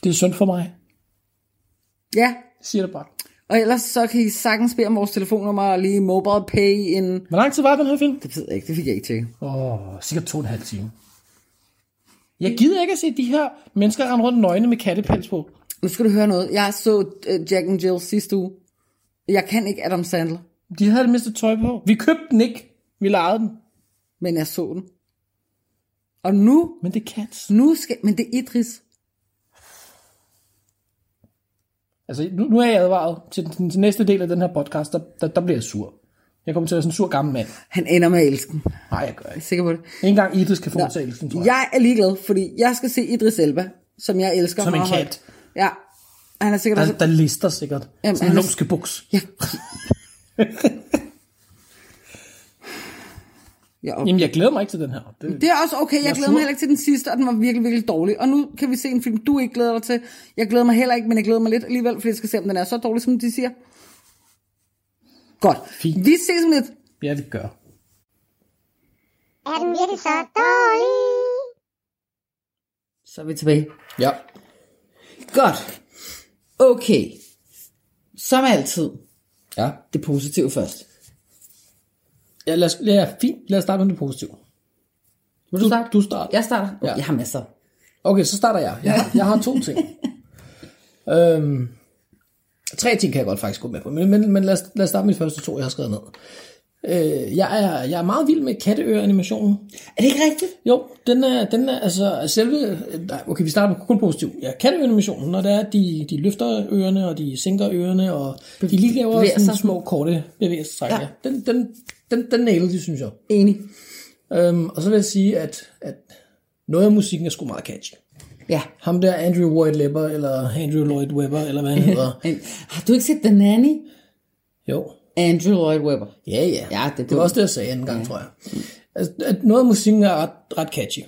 J: Det er synd for mig.
I: Ja,
J: Jeg siger det bare.
I: og ellers så kan I sagtens bede om vores telefonnummer og lige mobile pay en...
J: Hvor lang tid var den her film?
I: Det ved jeg ikke, det fik jeg ikke tjekket.
J: Åh, oh, sikkert to og en halv time. Jeg gider ikke at se de her mennesker rende rundt nøgne med kattepels på.
I: Nu skal du høre noget. Jeg så øh, Jack and Jill sidste uge. Jeg kan ikke Adam Sandler,
J: De havde det mindste tøj på. Vi købte den ikke. Vi lejede den.
I: men jeg så den. Og nu,
J: Men det er cats.
I: nu skal... Men det er Idris.
J: Altså, nu, nu er jeg advaret til den, til den næste del af den her podcast, der, der, der bliver jeg sur. Jeg kommer til at være sådan en sur gammel mand.
I: Han ender med at elske den. Jeg
J: Nej, jeg gør
I: er
J: ikke.
I: sikker på det.
J: Ikke engang Idris kan få udtalelsen, tror jeg.
I: Jeg er ligeglad, fordi jeg skal se Idris Elba, som jeg elsker.
J: Som en
I: meget højt.
J: kat.
I: Ja. Han er sikkert
J: Der,
I: også...
J: der lister sikkert.
I: Jamen,
J: Jamen, altså- Sådan en
I: han-
J: lumske buks.
I: Ja. Ja,
J: Jamen, jeg glæder mig ikke til den her. Det,
I: Det er også okay. Jeg,
J: er
I: jeg glæder
J: sur.
I: mig heller ikke til den sidste, og den var virkelig, virkelig dårlig. Og nu kan vi se en film, du ikke glæder dig til. Jeg glæder mig heller ikke, men jeg glæder mig lidt alligevel, for jeg skal se, om den er så dårlig, som de siger. Godt.
J: Fint.
I: Vi ses om lidt.
J: Ja, det gør.
G: Er den virkelig så dårlig?
I: Så er vi tilbage.
J: Ja.
I: Godt. Okay. Som altid,
J: Ja.
I: det positive først.
J: Ja, lad os, ja, fint. Lad os starte med det positive.
I: Vil du, starte?
J: Du starter.
I: Jeg starter. Okay,
J: Ja.
I: Jeg har masser.
J: Okay, så starter jeg. Jeg har, jeg har to ting. øhm, tre ting kan jeg godt faktisk gå med på, men, men, men lad, os, lad os starte med de første to, jeg har skrevet ned. Øh, jeg, er, jeg er meget vild med katteøre-animationen.
I: Er det ikke rigtigt?
J: Jo, den er, den er altså selve... Nej, okay, vi starter på kun positivt. Ja, katteanimationen, når det er, at de, de løfter ørerne, og de sænker ørerne, og de lige laver
I: bevæger
J: sådan
I: sig.
J: små, korte bevægelser. Ja.
I: Ja.
J: Den, den, den, den nailede de, synes jeg.
I: Enig.
J: Øhm, og så vil jeg sige, at, at noget af musikken er sgu meget catchy.
I: Ja.
J: Ham der Andrew Lloyd Webber, eller Andrew Lloyd Webber, eller hvad han hedder.
I: Men Har du ikke set The Nanny?
J: Jo.
I: Andrew Lloyd Webber.
J: Ja, ja.
I: Ja, det
J: det var
I: kunne-
J: også det, jeg sagde anden gang, ja. tror jeg. Altså, at noget af musikken er ret, ret catchy.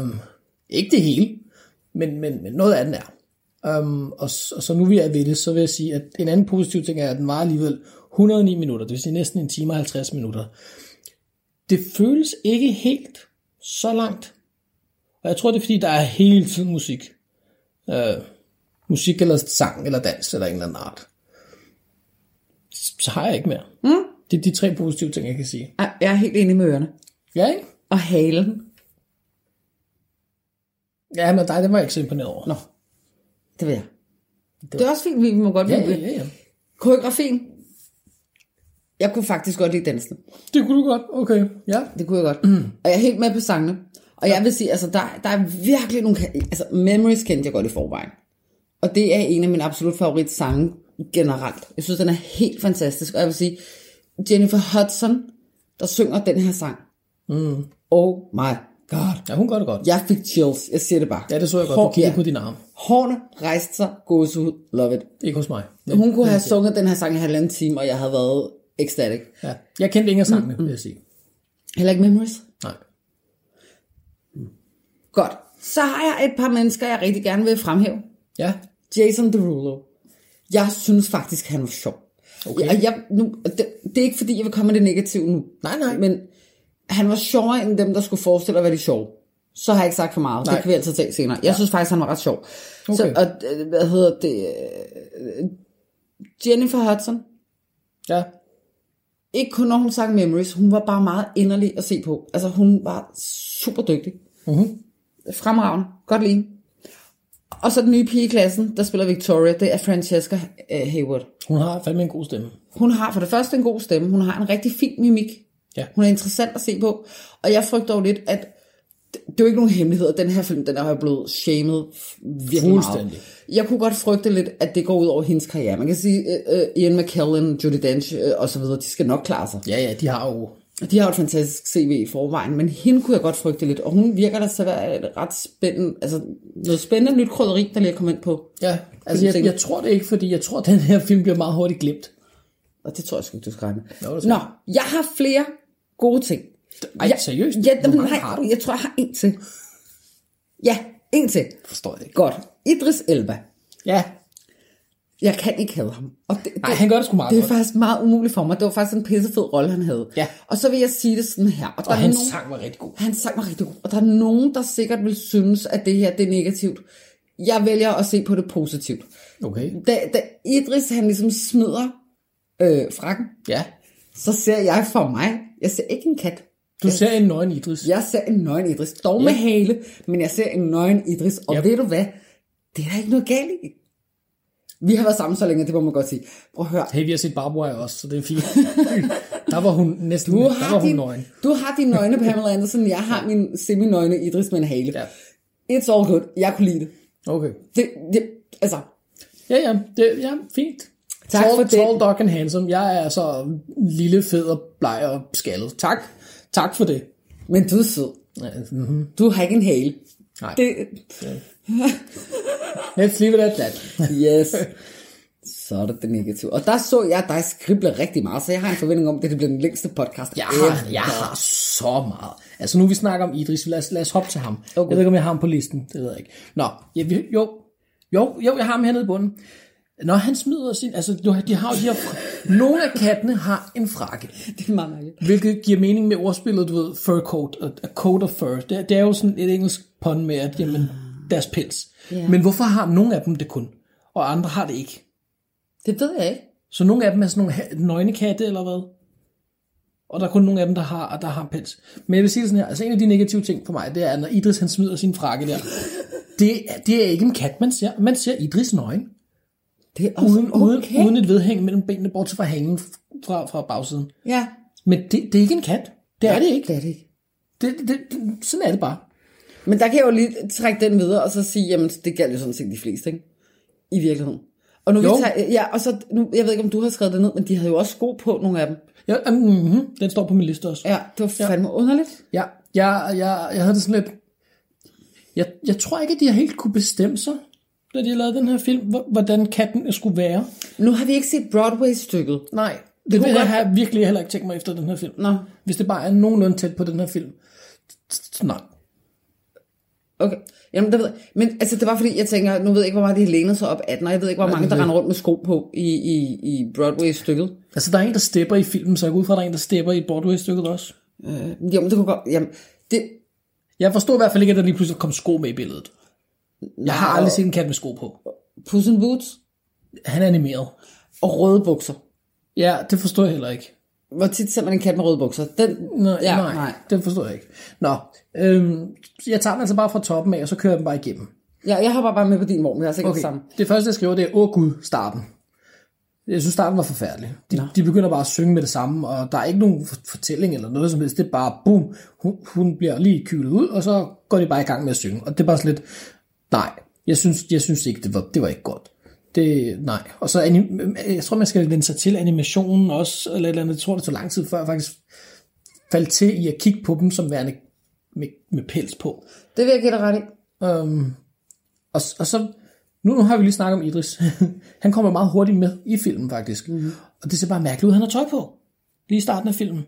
J: Um, ikke det hele, men, men, men noget af den er. Um, og, s- og så nu vi er ved det, så vil jeg sige, at en anden positiv ting er, at den var alligevel 109 minutter, det vil sige næsten en time og 50 minutter. Det føles ikke helt så langt. Og jeg tror, det er fordi, der er hele tiden musik. Uh, musik eller sang eller dans eller en eller anden art. S- Så har jeg ikke mere. Det er de tre positive ting, jeg kan sige.
I: Ej, Jeg er helt enig med ørerne.
J: Ja, ikke?
I: Og halen.
J: Ja, men dig, den var jeg ikke så imponeret over. Nå.
I: Det vil jeg. Det er også fint, vi må godt
J: Ja,
I: lide
J: ja,
I: det.
J: ja, ja.
I: Koreografien. Jeg kunne faktisk godt lide dansen.
J: Det kunne du godt. Okay, ja.
I: Det kunne jeg godt. Mm. Og jeg er helt med på sangene. Og jeg vil sige, altså der, der er virkelig nogle... ka- Altså Memories kendte jeg godt i forvejen. Og det er en af mine absolut favorit sange generelt. Jeg synes, den er helt fantastisk. Og jeg vil sige, Jennifer Hudson, der synger den her sang. Mm. Oh my god.
J: Ja, hun gør det godt.
I: Jeg fik chills. Jeg siger det bare.
J: Ja, det så jeg godt.
I: Hår-
J: Du kiggede
I: ja.
J: på din arm.
I: Hårene rejste sig, gåsehud, love it.
J: Ikke hos mig. Ja.
I: Hun kunne have sunget den her sang i halvanden time, og jeg havde været ecstatic.
J: ja. Jeg kendte ingen af sangene, vil jeg sige.
I: Heller ikke Memories.
J: Nej.
I: Godt. Så har jeg et par mennesker, jeg rigtig gerne vil fremhæve.
J: Ja.
I: Jason Derulo. Jeg synes faktisk, han var sjov. Okay. Jeg, jeg, nu, det, det er ikke fordi, jeg vil komme med det negative nu.
J: Nej, nej.
I: Men han var sjovere end dem, der skulle forestille at være de sjove. Så har jeg ikke sagt for meget. Nej.
J: Nej.
I: Det kan vi altid tage senere. Jeg ja. synes faktisk, han var ret sjov. Okay. Så,
J: Okay.
I: og øh, hvad hedder det? øh, Jennifer Hudson.
J: Ja.
I: Ikke kun når hun sang Memories. Hun var bare meget inderlig at se på. Altså hun var super dygtig.
J: Mhm.
I: Mm-hmm. Fremragende. Godt lige. Og så den nye pige i klassen, der spiller Victoria, det er Francesca øh, Hayward.
J: Hun har fandme en god stemme.
I: Hun har for det første en god stemme, hun har en rigtig fin mimik.
J: Ja.
I: Hun er interessant at se på, og jeg frygter jo lidt, at det det er jo ikke nogen hemmelighed, at den her film, den er jo blevet shamed f- virkelig meget.
J: Fuldstændig.
I: Jeg kunne godt frygte lidt, at det går ud over hendes karriere. Man kan sige, øh, øh, Ian McKellen, Judi Dench øh, og så videre, de skal nok klare sig.
J: Ja, ja, de har jo...
I: De har jo et fantastisk CV i forvejen, men hende kunne jeg godt frygte lidt, og hun virker da til at være et ret spændende, altså noget spændende nyt krydderi, der lige er kommet ind på.
J: Ja, altså jeg, jeg tror det ikke, fordi jeg tror, at den her film bliver meget hurtigt glemt.
I: Og det tror jeg sgu ikke, du skal regne med.
J: Nå, det
I: Nå,
J: skal
I: Nå, jeg har flere gode ting.
J: Ej,
I: jeg,
J: seriøst?
I: Ja,
J: Hvor
I: jamen,
J: mange
I: nej,
J: har du?
I: jeg tror, jeg har en til. Ja, en til.
J: Forstår jeg ikke.
I: Godt. Idris Elba.
J: Ja.
I: Jeg kan ikke have ham. Og det,
J: Nej, han gør det sgu meget
I: Det er
J: godt.
I: faktisk meget umuligt for mig. Det var faktisk en pissefed rolle, han havde.
J: Ja.
I: Og så vil jeg sige det sådan her. der
J: Og
I: er
J: hans sang var rigtig god.
I: Han sang var rigtig god. Og der er nogen, der sikkert vil synes, at det her det er negativt. Jeg vælger at se på det positivt.
J: Okay.
I: Da, da Idris han ligesom smider øh, frakken,
J: Ja.
I: så ser jeg for mig, jeg ser ikke en kat.
J: Du ser en nøgen Idris.
I: Jeg ser en nøgen Idris, dog med hale, men jeg ser en nøgen Idris, og
J: Ja.
I: ved du hvad, det er der ikke noget galt i. Vi har været sammen så længe, det må man godt sige. Prøv at høre,
J: Hey, vi har set Barbara også, så det er fint. der var hun næsten...
I: du
J: der
I: har,
J: var hun
I: din,
J: nøgen.
I: du har din nøgne Pamela Andersen, jeg har min semi-nøgne Idris med en hale.
J: Ja.
I: It's all good, jeg kunne lide det.
J: Okay.
I: det, det altså,
J: Ja, ja, det, ja fint.
I: Tak
J: tall,
I: for det.
J: Tall, dark and handsome. Jeg er altså lille, fed og bleg og skaldet. Tak. Tak for det.
I: men du er sød.
J: Ja, mhm.
I: Du har ikke en hale.
J: Nej.
I: Det,
J: Let's leave it at that.
I: yes. Så er det det negative. Og der så jeg dig skrible rigtig meget, så jeg har en forventning om, at det bliver den længste podcast.
J: Jeg har, jeg har så meget. Altså nu vi snakker om Idris, lad os, lad os hoppe til ham. Okay. Jeg ved ikke, om jeg har ham på listen, det ved jeg ikke. Nå, ja, vi, jo, jo, jo, jeg har ham hernede i bunden. Når han smider sin... Altså, du- de har jo de her... Nogle af kattene har en frakke.
I: Det er meget mærkeligt.
J: Hvilket giver mening med ordspillet, du ved, fur coat, og- a coat of fur. Det, er- det er jo sådan et engelsk pun med, at jamen, deres pels.
I: Ah. Ja.
J: Men hvorfor har nogle af dem det kun, og andre har det ikke?
I: Det ved jeg ikke.
J: Så nogle af dem er sådan nogle ha- nøgnekatte, eller hvad? Og der er kun nogle af dem, der har, der har pels. Men jeg vil sige det sådan her, altså en af de negative ting for mig, det er, når Idris han smider sin frakke der. Det, er- det er ikke en kat, man ser. Man ser Idris nøgen.
I: Det er også
J: Uden, okay. uden, uden et vedhæng mellem benene, bortset fra hængen fra, fra bagsiden.
I: Ja.
J: Men det, det er ikke en kat. Det er det ikke.
I: Det er det ikke.
J: Det, det, det, sådan er det bare.
I: Men der kan jeg jo lige trække den videre, og så sige, jamen det gælder jo sådan set de fleste, ikke? I virkeligheden. Og nu vi
J: Jo.
I: tager, ja, og så, nu, jeg ved ikke, om du har skrevet det ned, men de havde jo også sko på, nogle af dem.
J: Jeg, mm-hmm, den står på min liste også.
I: Ja, det var fandme ja. underligt.
J: Ja, jeg, jeg, jeg havde det sådan lidt... Jeg, jeg tror ikke, at de har helt kunne bestemme sig, da de lavede den her film, hvor- hvordan katten skulle være.
I: Nu har vi ikke set Broadway-stykket.
J: Nej, det, det
I: kunne
J: jeg
I: godt-
J: har jeg virkelig heller ikke tænkt mig efter den her film.
I: Nå,
J: Hvis det bare er nogenlunde tæt på den her film. så Nej.
I: okay. Jamen, det ved jeg. Men altså, det var fordi, jeg tænker, nu ved jeg ikke, hvor meget de lænede sig op af den, og jeg ved ikke, hvor mange, der render rundt med sko på i, i, i Broadway-stykket.
J: Altså, der er en, der stepper i filmen, så jeg går ud fra, at der er en, der stepper i Broadway-stykket også.
I: Øh, jamen, det kunne godt, jamen, det,
J: Jeg forstod i hvert fald ikke, at der lige pludselig kom sko med i billedet. Jeg har aldrig set en kat med sko på.
I: Puss in Boots
J: Han er animeret.
I: og røde bukser.
J: Ja, det forstod jeg heller ikke.
I: Hvor tit ser man en kat med røde bukser? Den,
J: Nå, ja, nej, nej, det forstår jeg ikke. Nå, øhm, jeg tager den altså bare fra toppen af, og så kører jeg den bare igennem.
I: Ja, jeg altså hopper bare med på din morgen, vi har sikkert okay.
J: Okay,
I: sammen.
J: det første jeg skriver, det er, åh gud, starten. Jeg synes, starten var forfærdelig. De, de begynder bare at synge med det samme, og der er ikke nogen for- fortælling eller noget som helst. Det er bare, boom, hun, hun bliver lige kylet ud, og så går de bare i gang med at synge. Og det er bare sådan lidt, nej, jeg synes, jeg synes ikke, det var, det var ikke godt. Det, nej. Og så, anim- jeg tror, man skal vende sig til animationen også, eller et eller andet. Jeg tror, det tog lang tid før jeg faktisk faldt til i at kigge på dem som værende med, med pels på.
I: Det vil jeg give dig ret i.
J: Øhm, og, s- og så, nu, nu har vi lige snakket om Idris. han kommer meget hurtigt med i filmen faktisk. Mm-hmm. Og det ser bare mærkeligt ud, han har tøj på. Lige i starten af filmen.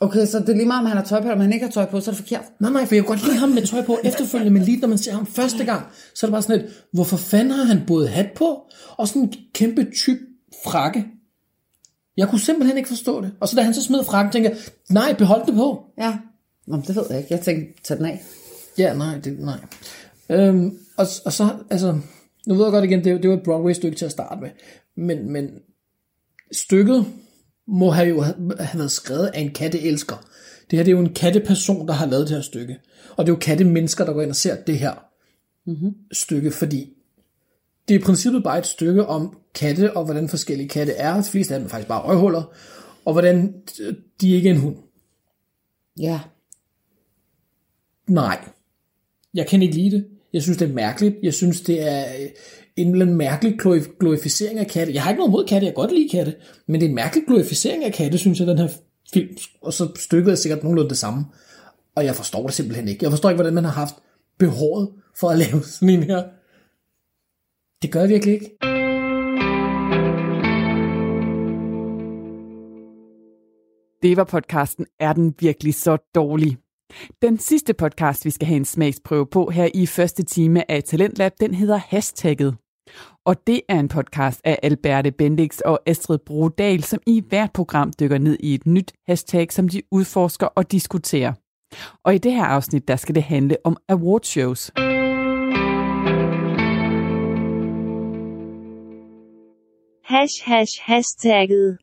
I: Okay, så det er lige meget, om han har tøj på, eller om han ikke har tøj på, så er det forkert.
J: Nej, nej, for jeg kan godt lide ham med tøj på efterfølgende, men lige når man ser ham første gang, så er det bare sådan lidt, hvorfor fanden har han både hat på, og sådan en kæmpe tyk frakke. Jeg kunne simpelthen ikke forstå det. Og så da han så smed frakken, tænker jeg, nej, behold det på.
I: Ja. Nå, men det ved jeg ikke. Jeg tænkte, tag den af.
J: Ja, nej, det, nej. Øhm, og, og så, altså, nu ved jeg godt igen, det, det var et Broadway-stykke til at starte med, men, men stykket må have jo have, have været skrevet af en katteelsker. Det her det er jo en katteperson, der har lavet det her stykke. Og det er jo kattemennesker, der går ind og ser det her mm-hmm. stykke, fordi det er i princippet bare et stykke om katte, og hvordan forskellige katte er. De fleste af dem er faktisk bare røvhuller, og hvordan øh, de ikke er en hund.
I: Ja.
J: Nej. Jeg kan ikke lide det. Jeg synes, det er mærkeligt. Jeg synes, det er øh, en eller anden mærkelig glorif- glorificering af katte. Jeg har ikke noget mod katte, jeg kan godt lide katte. Men det er en mærkelig glorificering af katte, synes jeg, den her film. Og så stykket er sikkert nogenlunde det samme. Og jeg forstår det simpelthen ikke. Jeg forstår ikke, hvordan man har haft behovet for at lave sådan en her. Det gør jeg virkelig ikke.
A: Det var podcasten Er den virkelig så dårlig? Den sidste podcast, vi skal have en smagsprøve på her i første time af Talentlab, den hedder Hashtagget. Og det er en podcast af Alberte Bendix og Astrid Brodal, som i hvert program dykker ned i et nyt hashtag, som de udforsker og diskuterer. Og i det her afsnit, der skal det handle om awardshows.
K: Hash hash hashtagget.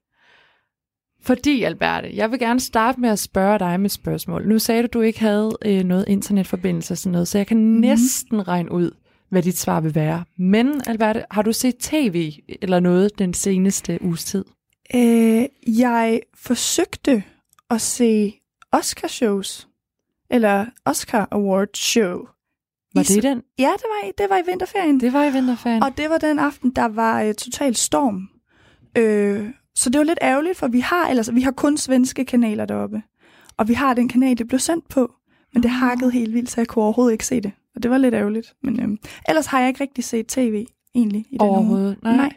L: Fordi, Alberte, jeg vil gerne starte med at spørge dig med et spørgsmål. Nu sagde du, at du ikke havde øh, noget internetforbindelse og sådan noget, så jeg kan mm. næsten regne ud, hvad dit svar vil være. Men, Alberte, har du set tv eller noget den seneste uges tid?
K: Øh, jeg forsøgte at se Oscar-shows, eller Oscar Award Show.
L: Var
K: I
L: det
K: s-
L: den?
K: Ja, det var, i- det var i vinterferien.
L: Det var i vinterferien.
K: Og det var den aften, der var øh, total storm. Øh, så det var lidt ærgerligt, for vi har, ellers, vi har kun svenske kanaler deroppe. Og vi har den kanal, det blev sendt på. Men det hakkede helt vildt, så jeg kunne overhovedet ikke se det. Og det var lidt ærgerligt. Men øhm, ellers har jeg ikke rigtig set tv egentlig i den uge.
L: Overhovedet, nej.
K: Nej.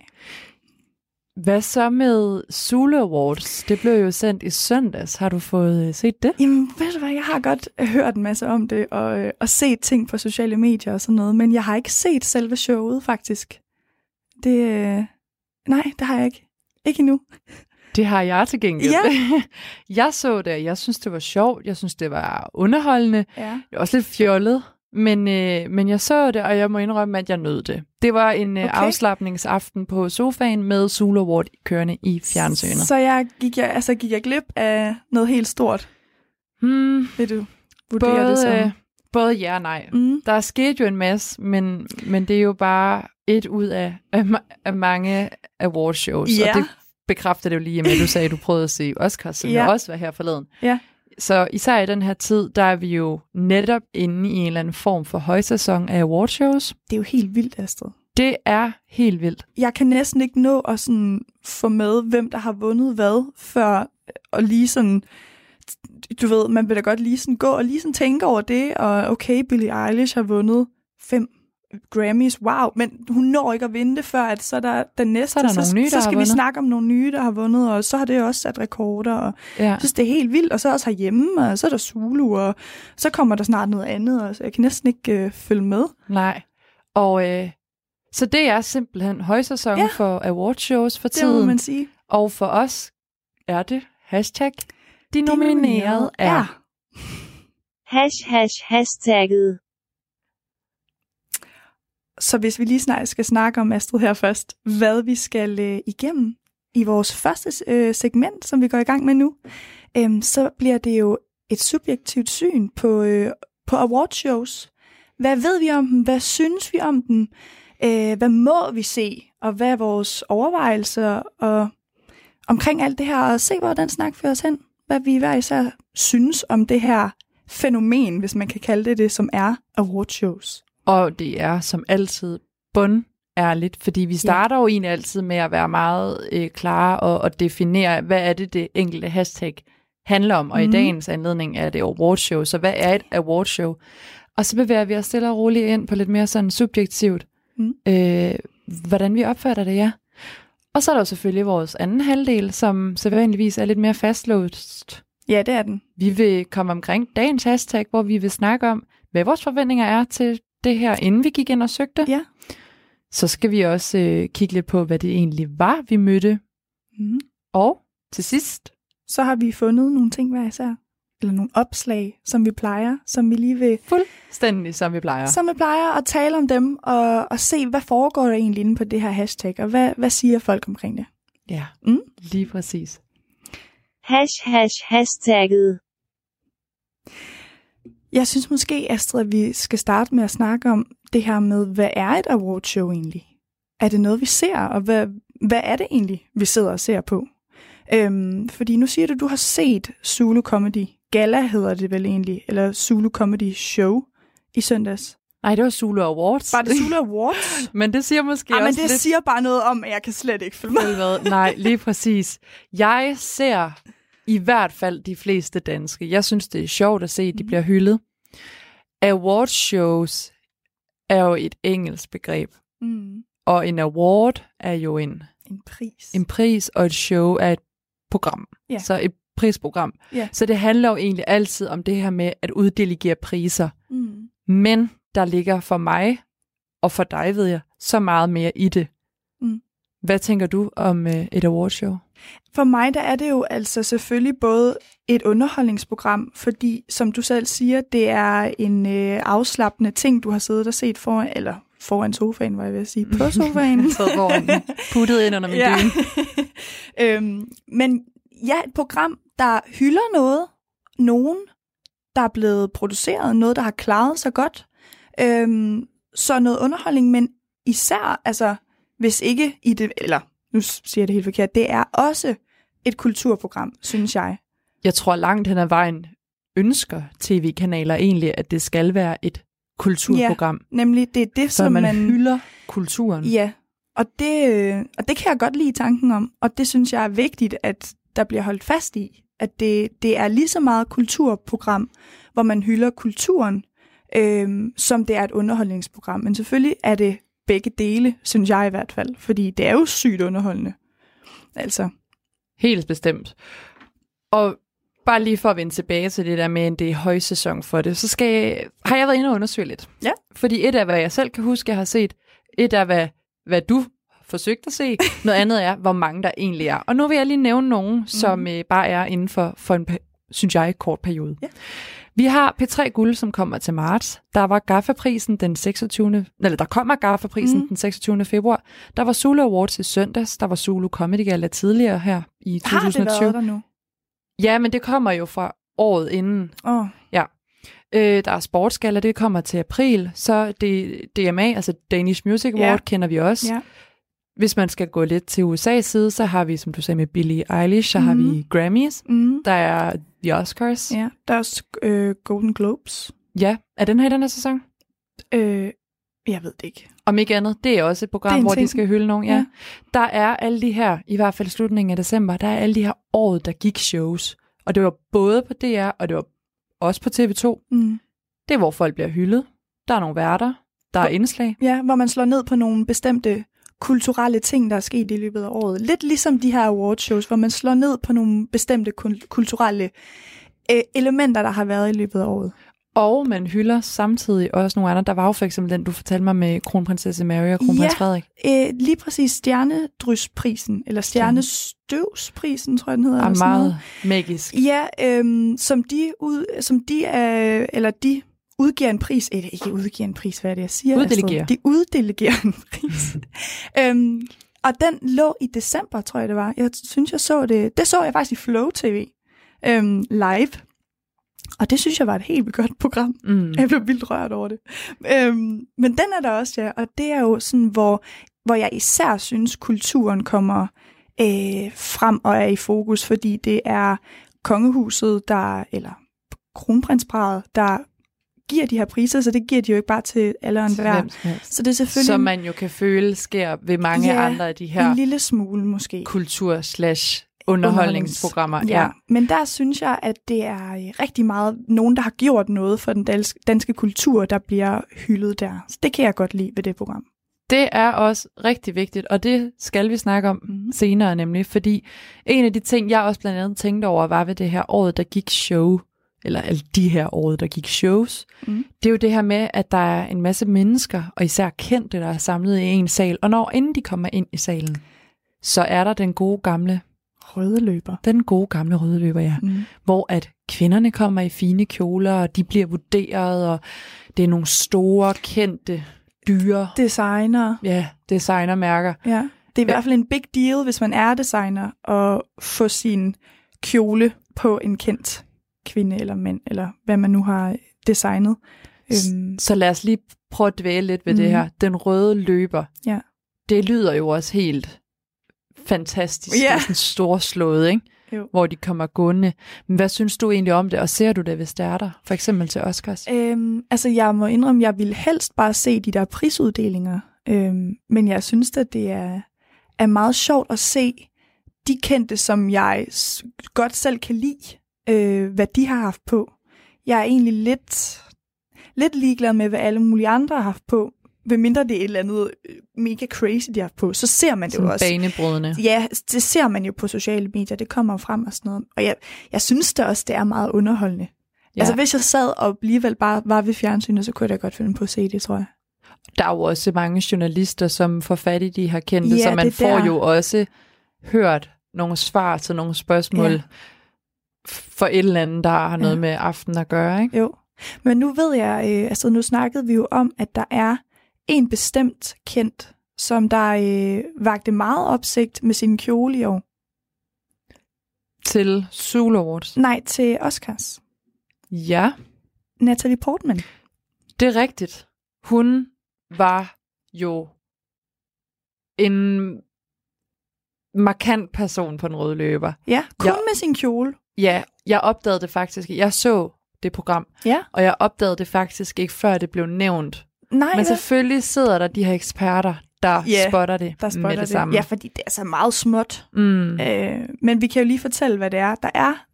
L: Hvad så med Zulu Awards? Det blev jo sendt i søndags. Har du fået øh, set det?
K: Jamen, Øhm, ved du hvad, jeg har godt øh, hørt en masse om det, og, øh, og set ting på sociale medier og sådan noget, men jeg har ikke set selve showet, faktisk. Det, øh, nej, det har jeg ikke. Ikke endnu.
L: Det har jeg til gengæld.
K: Ja.
L: jeg så det, og jeg synes, det var sjovt. Jeg synes, det var underholdende.
K: Ja.
L: Det var også lidt fjollet. Men, øh, men jeg så det, og jeg må indrømme, at jeg nød det. Det var en øh,
K: Okay.
L: afslappningsaften på sofaen med Zulu Award kørende i fjernsynet.
K: Så jeg gik, jeg, altså, gik jeg glip af noget helt stort,
L: hmm,
K: vil du vurdere
L: både,
K: det som?
L: øh, både ja og nej. Mm. Der skete jo en masse, men, men det er jo bare et ud af, af, ma- af mange awardshows.
K: Ja.
L: Og det bekræfter det jo lige med, at du sagde, at du prøvede at se Oscars, som
K: Ja.
L: jeg også var her forleden.
K: Ja.
L: Så især i den her tid, der er vi jo netop inde i en eller anden form for højsæson af awardshows.
K: Det er jo helt vildt, Astrid.
L: Det er helt vildt.
K: Jeg kan næsten ikke nå at sådan få med, hvem der har vundet hvad, før øh, og lige sådan, du ved, man vil da godt lige sådan gå og lige sådan tænke over det, og okay, Billie Eilish har vundet fem Grammys, wow, men hun når ikke at vinde det, før at så er der den næste,
L: Så er der nogle nye, der
K: så
L: har
K: skal vi
L: vundet.
K: snakke om nogle nye, der har vundet, og så har det også sat rekorder, og
L: Ja.
K: jeg synes, det er helt vildt, og så også herhjemme, og så er der Zulu, og så kommer der snart noget andet, og så jeg kan næsten ikke øh, følge med.
L: Nej. Og øh, så det er simpelthen højsæson ja. for awardshows for
K: Det må
L: tiden.
K: man sige.
L: Og for os er det hashtag de nominerede er.
M: Hash hash hashtagget.
K: Så hvis vi lige snart skal snakke om Astrid her først, hvad vi skal øh, igennem i vores første øh, segment, som vi går i gang med nu, øhm, så bliver det jo et subjektivt syn på, øh, på awardshows. Hvad ved vi om dem? Hvad synes vi om dem? Øh, hvad må vi se? Og hvad er vores overvejelser og omkring alt det her? Og se, hvor den snak fører os hen. Hvad vi hver især synes om det her fænomen, hvis man kan kalde det det, som er awardshows.
L: Og det er som altid bund ærligt, fordi vi starter jo egentlig altid med at være meget øh, klare og, og definere, hvad er det, det enkelte hashtag handler om. Og mm. i
N: Mhm.
L: dagens anledning er det awardshow, så hvad er et awardshow? Og så bevæger vi os stille og roligt ind på lidt mere sådan subjektivt,
K: mm.
L: øh, hvordan vi opfatter det, ja. Og så er der jo selvfølgelig vores anden halvdel, som sædvanligvis er lidt mere fastlåst.
K: Ja, det er den.
L: Vi vil komme omkring dagens hashtag, hvor vi vil snakke om, hvad vores forventninger er til det her, inden vi gik ind og søgte.
K: Ja.
L: Så skal vi også øh, kigge lidt på, hvad det egentlig var, vi mødte.
K: Mm.
L: Og til sidst,
K: så har vi fundet nogle ting hver især. Eller nogle opslag, som vi plejer, som vi lige vil...
L: Fuldstændig som vi plejer.
K: Som vi plejer at tale om dem, og, og se, hvad foregår der egentlig inde på det her hashtag, og hvad, hvad siger folk omkring det?
L: Ja,
K: mm.
L: lige præcis.
M: Hash hash hashtagget.
K: Jeg synes måske, Astrid, at vi skal starte med at snakke om det her med, hvad er et awardshow egentlig? Er det noget, vi ser, og hvad, hvad er det egentlig, vi sidder og ser på? Øhm, fordi nu siger du, du har set Zulu Comedy Gala, hedder det vel egentlig, eller Zulu Comedy Show i søndags.
L: Nej, det var Zulu Awards.
K: Var det Zulu Awards?
L: Men det siger måske
K: Ej, men
L: også
K: det
L: lidt...
K: siger bare noget om, at jeg kan slet ikke følge
L: med. Hvad? Nej, lige præcis. Jeg ser i hvert fald de fleste danske. Jeg synes, det er sjovt at se,
K: Mm.
L: at de bliver hyldet. Awards shows er jo et engelsk begreb.
K: Mm.
L: Og en award er jo en,
K: en pris.
L: En pris, og et show er et program.
K: Ja.
L: Så et prisprogram.
K: Ja.
L: Så det handler jo egentlig altid om det her med at uddelegere priser.
K: Mm.
L: Men der ligger for mig, og for dig ved jeg, så meget mere i det.
K: Mm.
L: Hvad tænker du om øh, et awardshow?
K: For mig der er det jo altså selvfølgelig både et underholdningsprogram, fordi som du selv siger, det er en øh, afslappende ting, du har siddet og set foran, eller foran sofaen, var jeg ved at sige, på sofaen.
L: Jeg sad foran den, puttet ind under min dyne.
K: øhm, men ja, et program, der hylder noget, nogen, der er blevet produceret, noget, der har klaret sig godt. Øhm, så noget underholdning, men især, altså, hvis ikke i det, eller nu siger jeg det helt forkert, det er også et kulturprogram, synes jeg.
L: Jeg tror langt hen ad vejen ønsker tv-kanaler egentlig, at det skal være et kulturprogram.
K: Ja, nemlig, det er det,
L: Så
K: som
L: man
K: man...
L: hylder kulturen.
K: Ja, og det, øh, og det kan jeg godt lide tanken om, og det synes jeg er vigtigt, at der bliver holdt fast i, at det, det er lige så meget kulturprogram, hvor man hylder kulturen, øh, som det er et underholdningsprogram. Men selvfølgelig er det begge dele, synes jeg i hvert fald, fordi det er jo sygt underholdende. Altså.
L: Helt bestemt. Og bare lige for at vende tilbage til det der med, at det er højsæson for det, så skal jeg, har jeg været inde og undersøge lidt.
K: Ja.
L: Fordi et af, hvad jeg selv kan huske, jeg har set, et af, hvad, hvad du forsøgte at se, noget andet er, hvor mange der egentlig er. Og nu vil jeg lige nævne nogen, som mm. øh, bare er inden for, for en, pe- synes jeg, kort periode.
K: Mhm. Ja.
L: Vi har P3 Guld, som kommer til marts. Der var Gaffaprisen den 26. Eller der kommer Gaffaprisen
K: Mhm.
L: mm. den 26. februar. Der var Zulu Awards i søndags. Der var Zulu Comedy Gala tidligere her i
K: Har
L: 2020.
K: det været der nu?
L: Ja, men det kommer jo fra året inden.
K: Åh.
L: Ja. Øh, der er sportsgala, det kommer til april. Så det, DMA, altså Danish Music Award,
K: Ja.
L: ja. kender vi også.
K: Ja.
L: Hvis man skal gå lidt til USA's side, så har vi, som du sagde med Billie Eilish, så mm. har vi Grammys.
K: Mm.
L: Der er The Oscars.
K: Mhm. Ja, der er også øh, Golden Globes.
L: Ja, er den her i den her sæson?
K: Øh, jeg ved det ikke.
L: Om ikke andet, det er også et
K: Det er
L: program,
K: en
L: hvor de
K: ting.
L: skal hylde nogen. Ja.
K: Ja.
L: ja. Der er alle de her, i hvert fald slutningen af december, der er alle de her året, der gik shows. Og det var både på DR, og det var også på TV2.
K: Mm.
L: Det er, hvor folk bliver hyldet. Der er nogle værter. Der er indslag.
K: Ja, hvor man slår ned på nogle bestemte kulturelle ting, der er sket i løbet af året. Lidt ligesom de her awardshows, hvor man slår ned på nogle bestemte kul- kulturelle øh, elementer, der har været i løbet af året.
L: Og man hylder samtidig også nogle andre. Der var jo for eksempel den, du fortalte mig med kronprinsesse Mary og kronprins Frederik.
K: Øh, lige præcis stjernedrysprisen, eller stjernestøvsprisen, tror jeg den hedder.
L: Er
K: eller sådan noget.
L: Ah, meget magisk.
K: Ja, øhm, som de, ud, som de øh, eller de udgiver en pris, eller ikke udgiver en pris, hvad er det, jeg siger?
L: Uddelegerer.
K: Astrid? De uddelegerer en pris. øhm, og den lå i december, tror jeg det var. Jeg synes, jeg så det, det så jeg faktisk i Flow TV øhm, live. Og det synes jeg var et helt vildt godt program.
L: Mm.
K: Jeg blev vildt rørt over det. Øhm, men den er der også, ja. Og det er jo sådan, hvor, hvor jeg især synes, kulturen kommer øh, frem og er i fokus, fordi det er kongehuset, der, eller kronprinsparet, der giver de her priser, så det giver de jo ikke bare til alle og enhver.
L: hvem som helst.
K: Så det er selvfølgelig
L: Som man jo kan føle sker ved mange
K: Ja,
L: andre af de
K: en
L: her
K: lille smule måske.
L: kultur-slash-underholdningsprogrammer.
K: Ja. men der synes jeg, at det er øh, rigtig meget nogen, der har gjort noget for den danske, danske kultur, der bliver hyldet der. Så det kan jeg godt lide ved det program.
L: Det er også rigtig vigtigt, og det skal vi snakke om
K: Mhm.
L: senere nemlig, fordi en af de ting, jeg også blandt andet tænkte over, var ved det her året, der gik show, eller alle de her året, der gik shows,
K: Mhm.
L: det er jo det her med, at der er en masse mennesker, og især kendte, der er samlet i en sal, og når inden de kommer ind i salen, så er der den gode gamle
K: røde løber.
L: Den gode gamle røde løber, ja.
K: Mm.
L: Hvor at kvinderne kommer i fine kjoler, og de bliver vurderet, og det er nogle store, kendte, dyre...
K: Designer.
L: Ja, designermærker.
K: Ja. Det er
L: Ja.
K: i hvert fald en big deal, hvis man er designer, at få sin kjole på en kendt kvinde eller mand, eller hvad man nu har designet. Øhm,
L: Så lad os lige prøve at dvæle lidt ved mm. det
K: Mhm.
L: her. Den røde løber.
K: Ja.
L: Det lyder jo også helt fantastisk.
K: Ja.
L: Det er sådan storslået, ikke?
K: Jo.
L: Hvor de kommer gående. Men hvad synes du egentlig om det, og ser du det, hvis det er der? For eksempel til Oscars.
K: Øhm, altså, jeg må indrømme, jeg ville helst bare se de der prisuddelinger. Øhm, men jeg synes, at det er, er meget sjovt at se de kendte, som jeg s- godt selv kan lide, øh, hvad de har haft på. Jeg er egentlig lidt, lidt ligeglad med, hvad alle mulige andre har haft på. Ved mindre det er et eller andet øh, mega crazy, de har haft på, så ser man det
L: Sådan
K: jo også.
L: banebrydende.
K: Ja, det ser man jo på sociale medier, det kommer frem og sådan noget. Og jeg, jeg synes da også, det er meget underholdende.
L: Ja.
K: Ja. Altså hvis jeg sad og alligevel bare var ved fjernsynet, så kunne jeg da godt finde på at se det, tror jeg.
L: der er jo også mange journalister, som får fat i de her kendte,
K: Ja,
L: så man
K: det er
L: får
K: der.
L: jo også hørt nogle svar til nogle spørgsmål
K: Ja.
L: ja. for et eller andet, der har noget
K: Ja.
L: ja. med aften at gøre. Ikke?
K: Jo. Men nu ved jeg, øh, altså nu snakkede vi jo om, at der er en bestemt kendt, som der øh, vagte meget opsigt med sin kjole i år.
L: Til Zulu Awards.
K: Nej, til Oscars.
L: Ja,
K: Natalie Portman.
L: det er rigtigt. Hun var jo en markant person på den røde løber.
K: Ja, kun
L: Ja.
K: ja. med sin kjole.
L: Ja, jeg opdagede det faktisk. Jeg så det program,
K: Ja.
L: og jeg opdagede det faktisk ikke, før det blev nævnt.
K: Nej,
L: Men
K: vel?
L: selvfølgelig sidder der de her eksperter, der
K: Ja,
L: spotter det
K: der spotter
L: med det,
K: det.
L: samme.
K: Ja, fordi det er så meget småt.
L: Mm.
K: Øh, men vi kan jo lige fortælle, hvad det er. Der er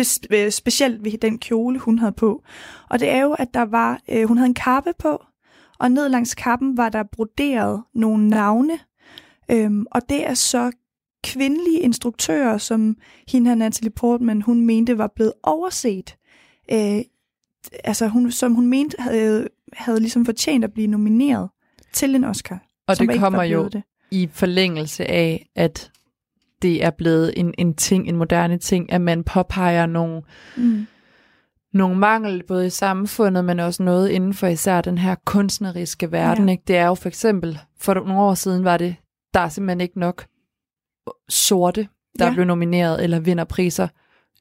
K: bes- øh, specielt ved den kjole, hun havde på. Og det er jo, at der var, øh, hun havde en kappe på, og ned langs kappen var der broderet nogle navne. Øhm, og det er så kvindelige instruktører, som hende her Natalie Portman, hun mente var blevet overset. Øh, altså, hun, som hun mente havde, havde ligesom fortjent at blive nomineret til en Oscar.
L: Og
K: som
L: det
K: ikke
L: kommer
K: var
L: jo
K: blevet det.
L: i forlængelse af, at det er blevet en, en ting, en moderne ting, at man påpeger nogle,
K: Mm.
L: nogle mangel, både i samfundet, men også noget inden for især den her kunstneriske verden. Ja. Ikke? Det er jo for eksempel, for nogle år siden var det, der er simpelthen ikke nok sorte, der
K: Ja.
L: ja. blev nomineret eller vinder priser.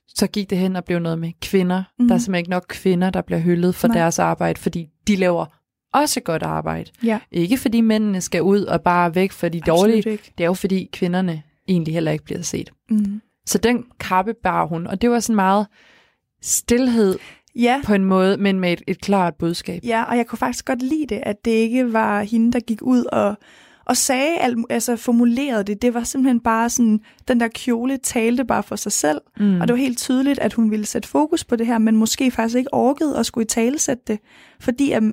L: Så gik det hen og blev noget med kvinder. Mm. Der er
K: Mhm.
L: simpelthen ikke nok kvinder, der bliver hyldet for
K: Nej.
L: Nej. deres arbejde, fordi de laver også godt arbejde.
K: Ja.
L: Ikke fordi mændene skal ud og bare væk for de
K: Absolut
L: dårlige.
K: ikke.
L: Det er jo fordi kvinderne egentlig heller ikke bliver set.
K: Mm.
L: Så den kappe bar hun, og det var sådan meget stillhed
K: ja.
L: på en måde, men med et, et klart budskab.
K: Ja, og jeg kunne faktisk godt lide det, at det ikke var hende, der gik ud og, og sagde, alt mu- altså formulerede det. Det var simpelthen bare sådan, den der kjole talte bare for sig selv,
L: Mm.
K: og det var helt tydeligt, at hun ville sætte fokus på det her, men måske faktisk ikke orkede at skulle i talesætte det, fordi at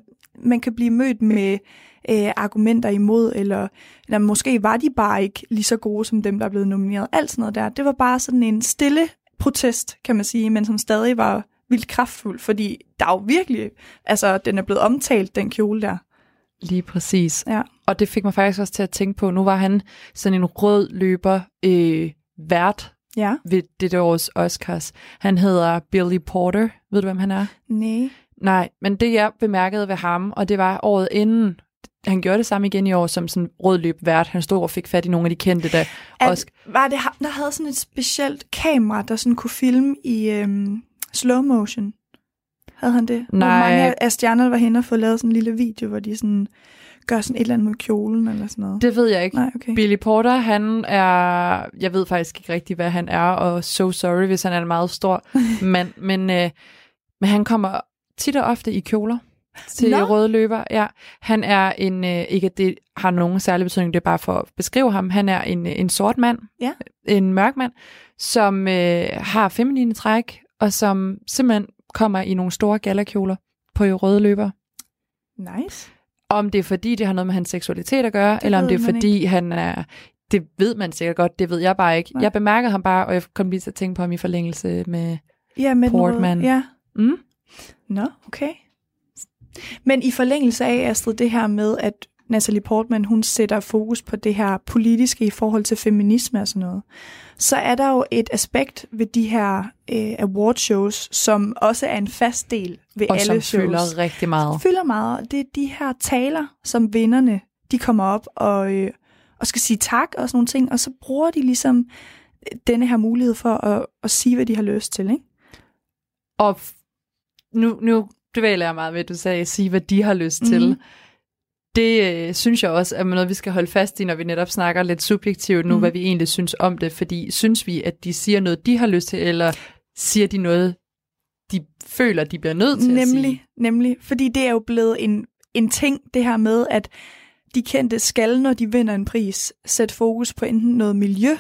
K: man kan blive mødt med øh, argumenter imod, eller, eller måske var de bare ikke lige så gode som dem, der er blevet nomineret. Alt sådan noget der. Det var bare sådan en stille protest, kan man sige, men som stadig var vildt kraftfuld, fordi der er jo virkelig, altså den er blevet omtalt, den kjole der.
L: Lige præcis.
K: Ja.
L: Og det fik mig faktisk også til at tænke på, nu var han sådan en rød løber øh, vært
K: Ja.
L: ved det års Oscars. Han hedder Billy Porter. Ved du, hvem han er?
K: Nej.
L: Nej, men det jeg bemærkede ved ham, og det var året inden, han gjorde det samme igen i år som sådan rød løb vært. Han stod og fik fat i nogle af de kendte, der
K: At,
L: også...
K: Var det ham, der havde sådan et specielt kamera, der sådan kunne filme i øhm, slow motion? Havde han det? Hvor
L: Nej.
K: mange af- af stjernerne var henne og få lavet sådan en lille video, hvor de sådan gør sådan et eller andet med kjolen eller sådan noget.
L: Det ved jeg ikke.
K: Nej, okay.
L: Billy Porter, han er... Jeg ved faktisk ikke rigtig, hvad han er, og so sorry, hvis han er en meget stor mand. Men, øh, men han kommer tit og ofte i kjoler til
K: Nå.
L: Nå. røde løber. Ja. Han er en... Øh, ikke at det har nogen særlig betydning, det er bare for at beskrive ham. Han er en, øh, en sort mand,
K: Ja.
L: en mørk mand, som øh, har feminine træk, og som simpelthen kommer i nogle store gallerkjoler på røde løber.
K: Nice.
L: Om det er fordi, det har noget med hans seksualitet at gøre,
K: Det
L: det eller om
K: ved
L: det er
K: man
L: fordi, ikke. han er... Det ved man sikkert godt, det ved jeg bare ikke.
K: Nej.
L: Nej. Jeg bemærkede ham bare, og jeg kom lige til at tænke på ham i forlængelse med...
K: Ja, med den røde-
L: Portman.
K: Ja.
L: Mm.
K: Nå, okay. Men i forlængelse af, Astrid, det her med, at Natalie Portman, hun sætter fokus på det her politiske i forhold til feminisme og sådan noget, så er der jo et aspekt ved de her øh, awardshows, som også er en fast del ved
L: Og
K: alle
L: som
K: shows.
L: fylder rigtig meget.
K: Fylder meget, og det er de her taler, som vinderne, de kommer op og, øh, og skal sige tak og sådan nogle ting, og så bruger de ligesom denne her mulighed for at, at sige, hvad de har lyst til, ikke?
L: Og f- nu, nu dvæler jeg meget ved, at du sagde, at sige, hvad de har lyst
K: Mhm.
L: mm-hmm. til. Det øh, synes jeg også er noget, vi skal holde fast i, når vi netop snakker lidt subjektivt nu,
K: Mhm.
L: mm. hvad vi egentlig synes om det. Fordi synes vi, at de siger noget, de har lyst til, eller siger de noget, de føler, de bliver nødt til at sige?
K: Nemlig, nemlig. Fordi det er jo blevet en, en ting, det her med, at de kendte skal, når de vinder en pris, sætte fokus på enten noget miljø,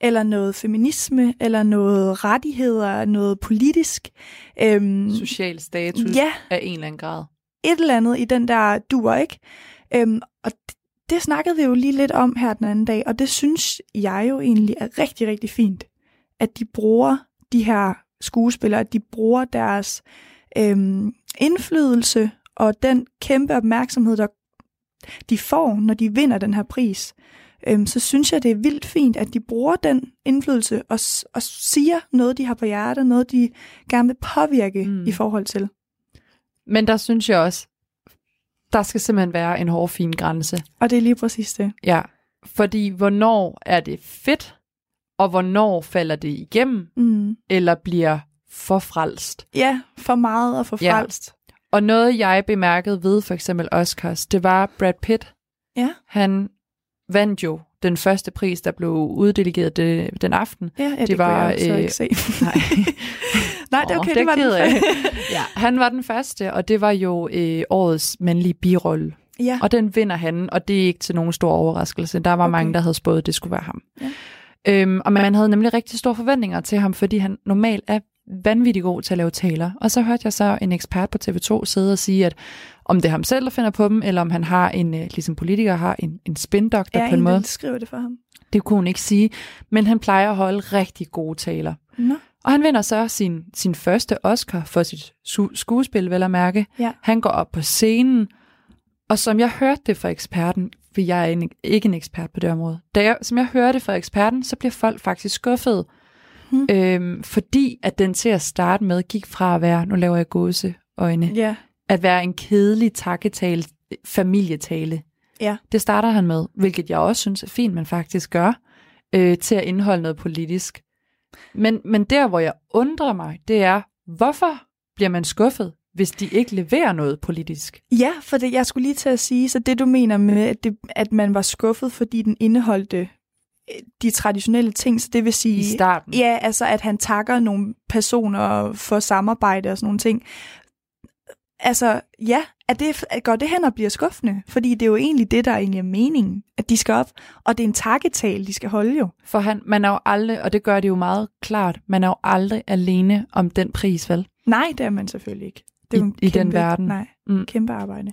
K: eller noget feminisme, eller noget rettigheder, noget politisk. Øhm,
L: social status
K: Ja.
L: ja. af en eller anden grad.
K: et eller andet i den der duer, ikke? Øhm, og det, det snakkede vi jo lige lidt om her den anden dag, og det synes jeg jo egentlig er rigtig, rigtig fint, at de bruger de her skuespillere, at de bruger deres øhm, indflydelse og den kæmpe opmærksomhed, der de får, når de vinder den her pris, øhm, så synes jeg, det er vildt fint, at de bruger den indflydelse og, s- og siger noget, de har på hjertet, noget, de gerne vil påvirke mm. i forhold til.
L: Men der synes jeg også, der skal simpelthen være en hård, fin grænse.
K: Og det er lige præcis det.
L: Ja, fordi hvornår er det fedt, og hvornår falder det igennem,
K: Mm.
L: eller bliver for frelst.
K: Ja, for meget og for
L: Ja.
K: frelst.
L: Og noget, jeg bemærkede ved for eksempel Oscars, det var Brad Pitt.
K: Ja.
L: Han vandt jo den første pris, der blev uddelegeret det, den aften.
K: Ja, ja det, det var, kunne jeg så ikke se.
L: Nej,
K: Nej, det er
L: Åh,
K: okay,
L: er
K: det var
L: ked af.
K: den.
L: ja, han var den første, og det var jo øh, årets mandlige birolle.
K: Ja.
L: Og den vinder han, og det er ikke til nogen stor overraskelse. Der var okay. mange, der havde spået, at det skulle være ham.
K: Ja.
L: Øhm, og man havde nemlig rigtig store forventninger til ham, fordi han normalt er vanvittig god til at lave taler. Og så hørte jeg så en ekspert på TV2 sidde og sige, at om det er ham selv, der finder på dem, eller om han har en, øh, ligesom politikere har, en, en spindoktor
K: Ja,
L: på en
K: en,
L: måde.
K: der skriver det for ham.
L: Det kunne hun ikke sige, men han plejer at holde rigtig gode taler.
K: Nå.
L: Og han vinder så sin, sin første Oscar for sit su- skuespil, vel at mærke.
K: Ja.
L: Han går op på scenen, og som jeg hørte det fra eksperten, for jeg er en, ikke en ekspert på det område, da jeg, som jeg hørte det fra eksperten, så bliver folk faktisk skuffet, hmm. øhm, fordi at den til at starte med gik fra at være, nu laver jeg gåseøjne,
K: Ja.
L: at være en kedelig takketale, familietale.
K: Ja.
L: Det starter han med, hvilket jeg også synes er fint, man faktisk gør, øh, til at indeholde noget politisk. Men, men der, hvor jeg undrer mig, det er, hvorfor bliver man skuffet, hvis de ikke leverer noget politisk?
K: Ja, for det, jeg skulle lige til at sige, så det du mener med, at, det, at man var skuffet, fordi den indeholdte øh, de traditionelle ting, så det vil sige...
L: I starten.
K: Ja, altså at han takker nogle personer for samarbejde og sådan nogle ting. Altså, ja, at det, at går det hen og bliver skuffende? Fordi det er jo egentlig det, der egentlig er meningen, at de skal op. Og det er en takketale, de skal holde jo.
L: For han, man er jo aldrig, og det gør det jo meget klart, man er jo aldrig alene om den pris, vel?
K: Nej, det er man selvfølgelig ikke. Det er jo
L: I-
K: en
L: i den
K: kæmpe-
L: verden.
K: Nej,
L: mm.
K: kæmpe arbejde.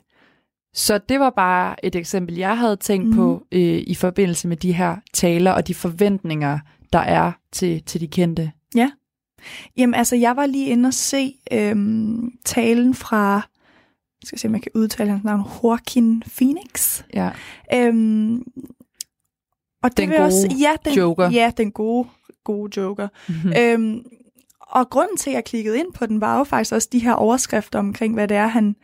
L: Så det var bare et eksempel, jeg havde tænkt mm.
K: Mhm.
L: på øh, i forbindelse med de her taler og de forventninger, der er til, til de kendte.
K: Ja. Jamen altså, jeg var lige inde og se øhm, talen fra, jeg skal se, om jeg kan udtale hans navn, Joaquin Phoenix.
L: Ja.
K: Øhm, og det
L: Den
K: vil jeg også,
L: gode
K: ja, den,
L: joker.
K: Ja, den gode, gode joker.
L: Mhm.
K: øhm, og grunden til, at jeg klikkede ind på den, var jo faktisk også de her overskrifter omkring, hvad det er, han,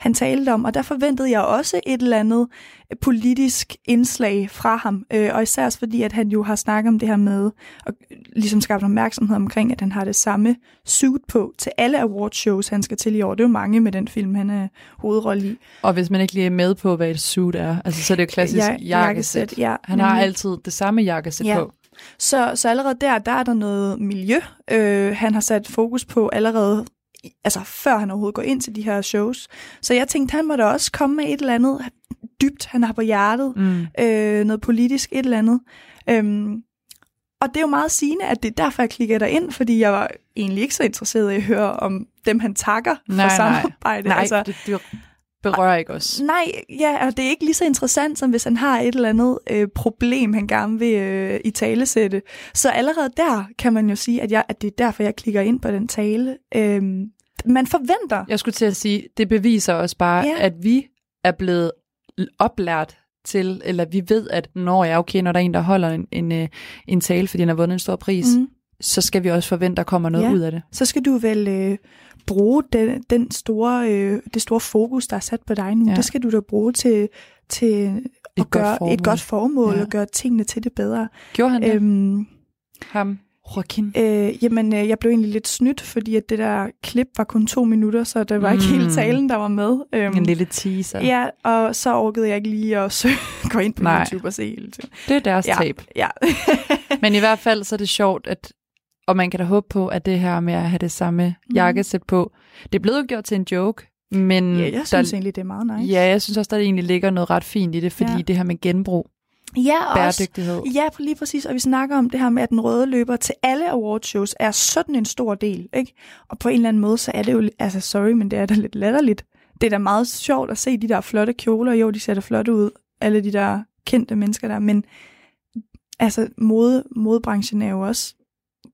K: han talte om. Og der forventede jeg også et eller andet øh, politisk indslag fra ham. Øh, og især også fordi, at han jo har snakket om det her med, og ligesom skabt opmærksomhed omkring, at han har det samme suit på til alle awardshows, han skal til i år. Det er jo mange med den film, han er hovedrolle i.
L: Og hvis man ikke lige er med på, hvad et suit er, altså, så er det jo klassisk
K: Ja,
L: ja,
K: jakkesæt,
L: jakkesæt.
K: ja, Mhm.
L: Han har
K: nemlig.
L: altid det samme jakkesæt på.
K: Så, så allerede der, der er der noget miljø, øh, han har sat fokus på allerede, i- altså før han overhovedet går ind til de her shows. Så jeg tænkte, han må da også komme med et eller andet dybt, han har på hjertet,
L: Mm.
K: øh, noget politisk, et eller andet. Øhm, og det er jo meget sigende, at det er derfor, jeg klikker ind, fordi jeg var egentlig ikke så interesseret i at høre om dem, han takker
L: Nej,
K: for
L: nej.
K: samarbejde. Altså,
L: Nej, det, det berører ikke os.
K: Nej, ja, og det er ikke lige så interessant, som hvis han har et eller andet øh, problem, han gerne vil øh, i tale sætte. Så allerede der kan man jo sige, at, jeg, at det er derfor, jeg klikker ind på den tale. Øhm, man forventer.
L: Jeg skulle til at sige, det beviser også bare,
K: Ja.
L: ja. at vi er blevet l- oplært til, eller vi ved, at når jeg er okay, når der er en, der holder en, en, øh, en tale, fordi han har vundet en stor pris,
K: Mhm.
L: mm. så skal vi også forvente, at der kommer noget ja. ud af det.
K: Så skal du vel øh, bruge den, den store, øh, det store fokus, der er sat på dig nu. Ja.
L: Ja.
K: Det skal du da bruge til, til
L: godt
K: at gøre
L: formål.
K: et godt formål ja.
L: Ja.
K: og gøre tingene til det bedre.
L: Gjorde han det?
K: Øhm,
L: Ham, Joaquin.
K: Øh, jamen, øh, jeg blev egentlig lidt snydt, fordi at det der klip var kun to minutter, så det var mm. ikke hele
L: Mm.
K: talen, der var med. Øhm,
L: En lille teaser.
K: Ja, og så orkede jeg ikke lige at søge, gå ind på Nej.
L: Nej.
K: YouTube og se hele tiden.
L: Det er deres
K: ja,
L: ja. tab.
K: Ja.
L: Men i hvert fald så er det sjovt, at, og man kan da håbe på, at det her med at have det samme
K: Mhm.
L: jakkesæt på, det blev jo gjort til en joke, men
K: ja, jeg synes egentlig, det er meget nice.
L: Ja, jeg synes også, der egentlig ligger noget ret fint i det, fordi
K: Ja.
L: ja. det her med genbrug,
K: Ja, og
L: bæredygtighed.
K: Også, ja, lige præcis. Og vi snakker om det her med, at den røde løber til alle awardshows er sådan en stor del. Ikke? Og på en eller anden måde, så er det jo, altså sorry, men det er da lidt latterligt. Det er da meget sjovt at se de der flotte kjoler. Jo, de ser da flotte ud, alle de der kendte mennesker der. Men altså, mode, modebranchen er jo også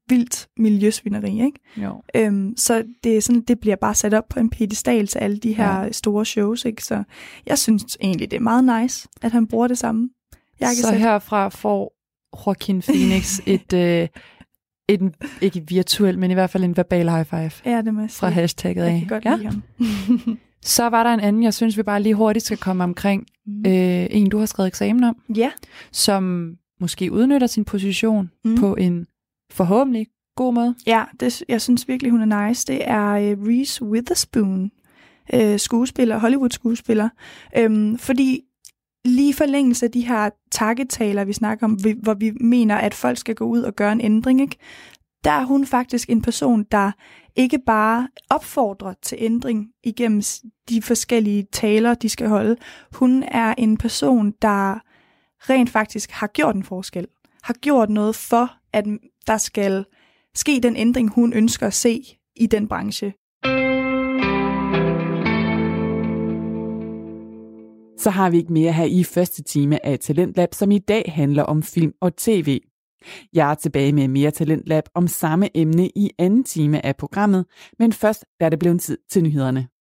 K: vildt miljøsvineri, ikke?
L: Jo.
K: Øhm, så det, er sådan, det bliver bare sat op på en pedestal til alle de her ja. store shows, ikke? Så jeg synes egentlig, det er meget nice, at han bruger det samme. Jeg kan
L: så herfra får Joaquin Phoenix et, øh, et, ikke virtuel, men i hvert fald en verbal high five
K: Ja, det må jeg sige.
L: fra hashtagget
K: Jeg
L: af.
K: kan godt
L: ja?
K: lide ham.
L: Så var der en anden, jeg synes, vi bare lige hurtigt skal komme omkring. Mm. Øh, en, du har skrevet eksamen om.
K: Ja.
L: Som måske udnytter sin position
K: Mm.
L: mm. på en forhåbentlig god måde.
K: Ja, det, jeg synes virkelig, hun er nice. Det er øh, Reese Witherspoon, øh, skuespiller, Hollywood-skuespiller. Øhm, fordi lige i forlængelse af de her takketaler, vi snakker om, vi- hvor vi mener, at folk skal gå ud og gøre en ændring, ikke? der er hun faktisk en person, der ikke bare opfordrer til ændring igennem s- de forskellige taler, de skal holde. Hun er en person, der rent faktisk har gjort en forskel. Har gjort noget for, at der skal ske den ændring, hun ønsker at se i den branche.
A: så har vi ikke mere her i første time af Talentlab, som i dag handler om film og tv. Jeg er tilbage med mere Talentlab om samme emne i anden time af programmet, men først er det blevet tid til nyhederne.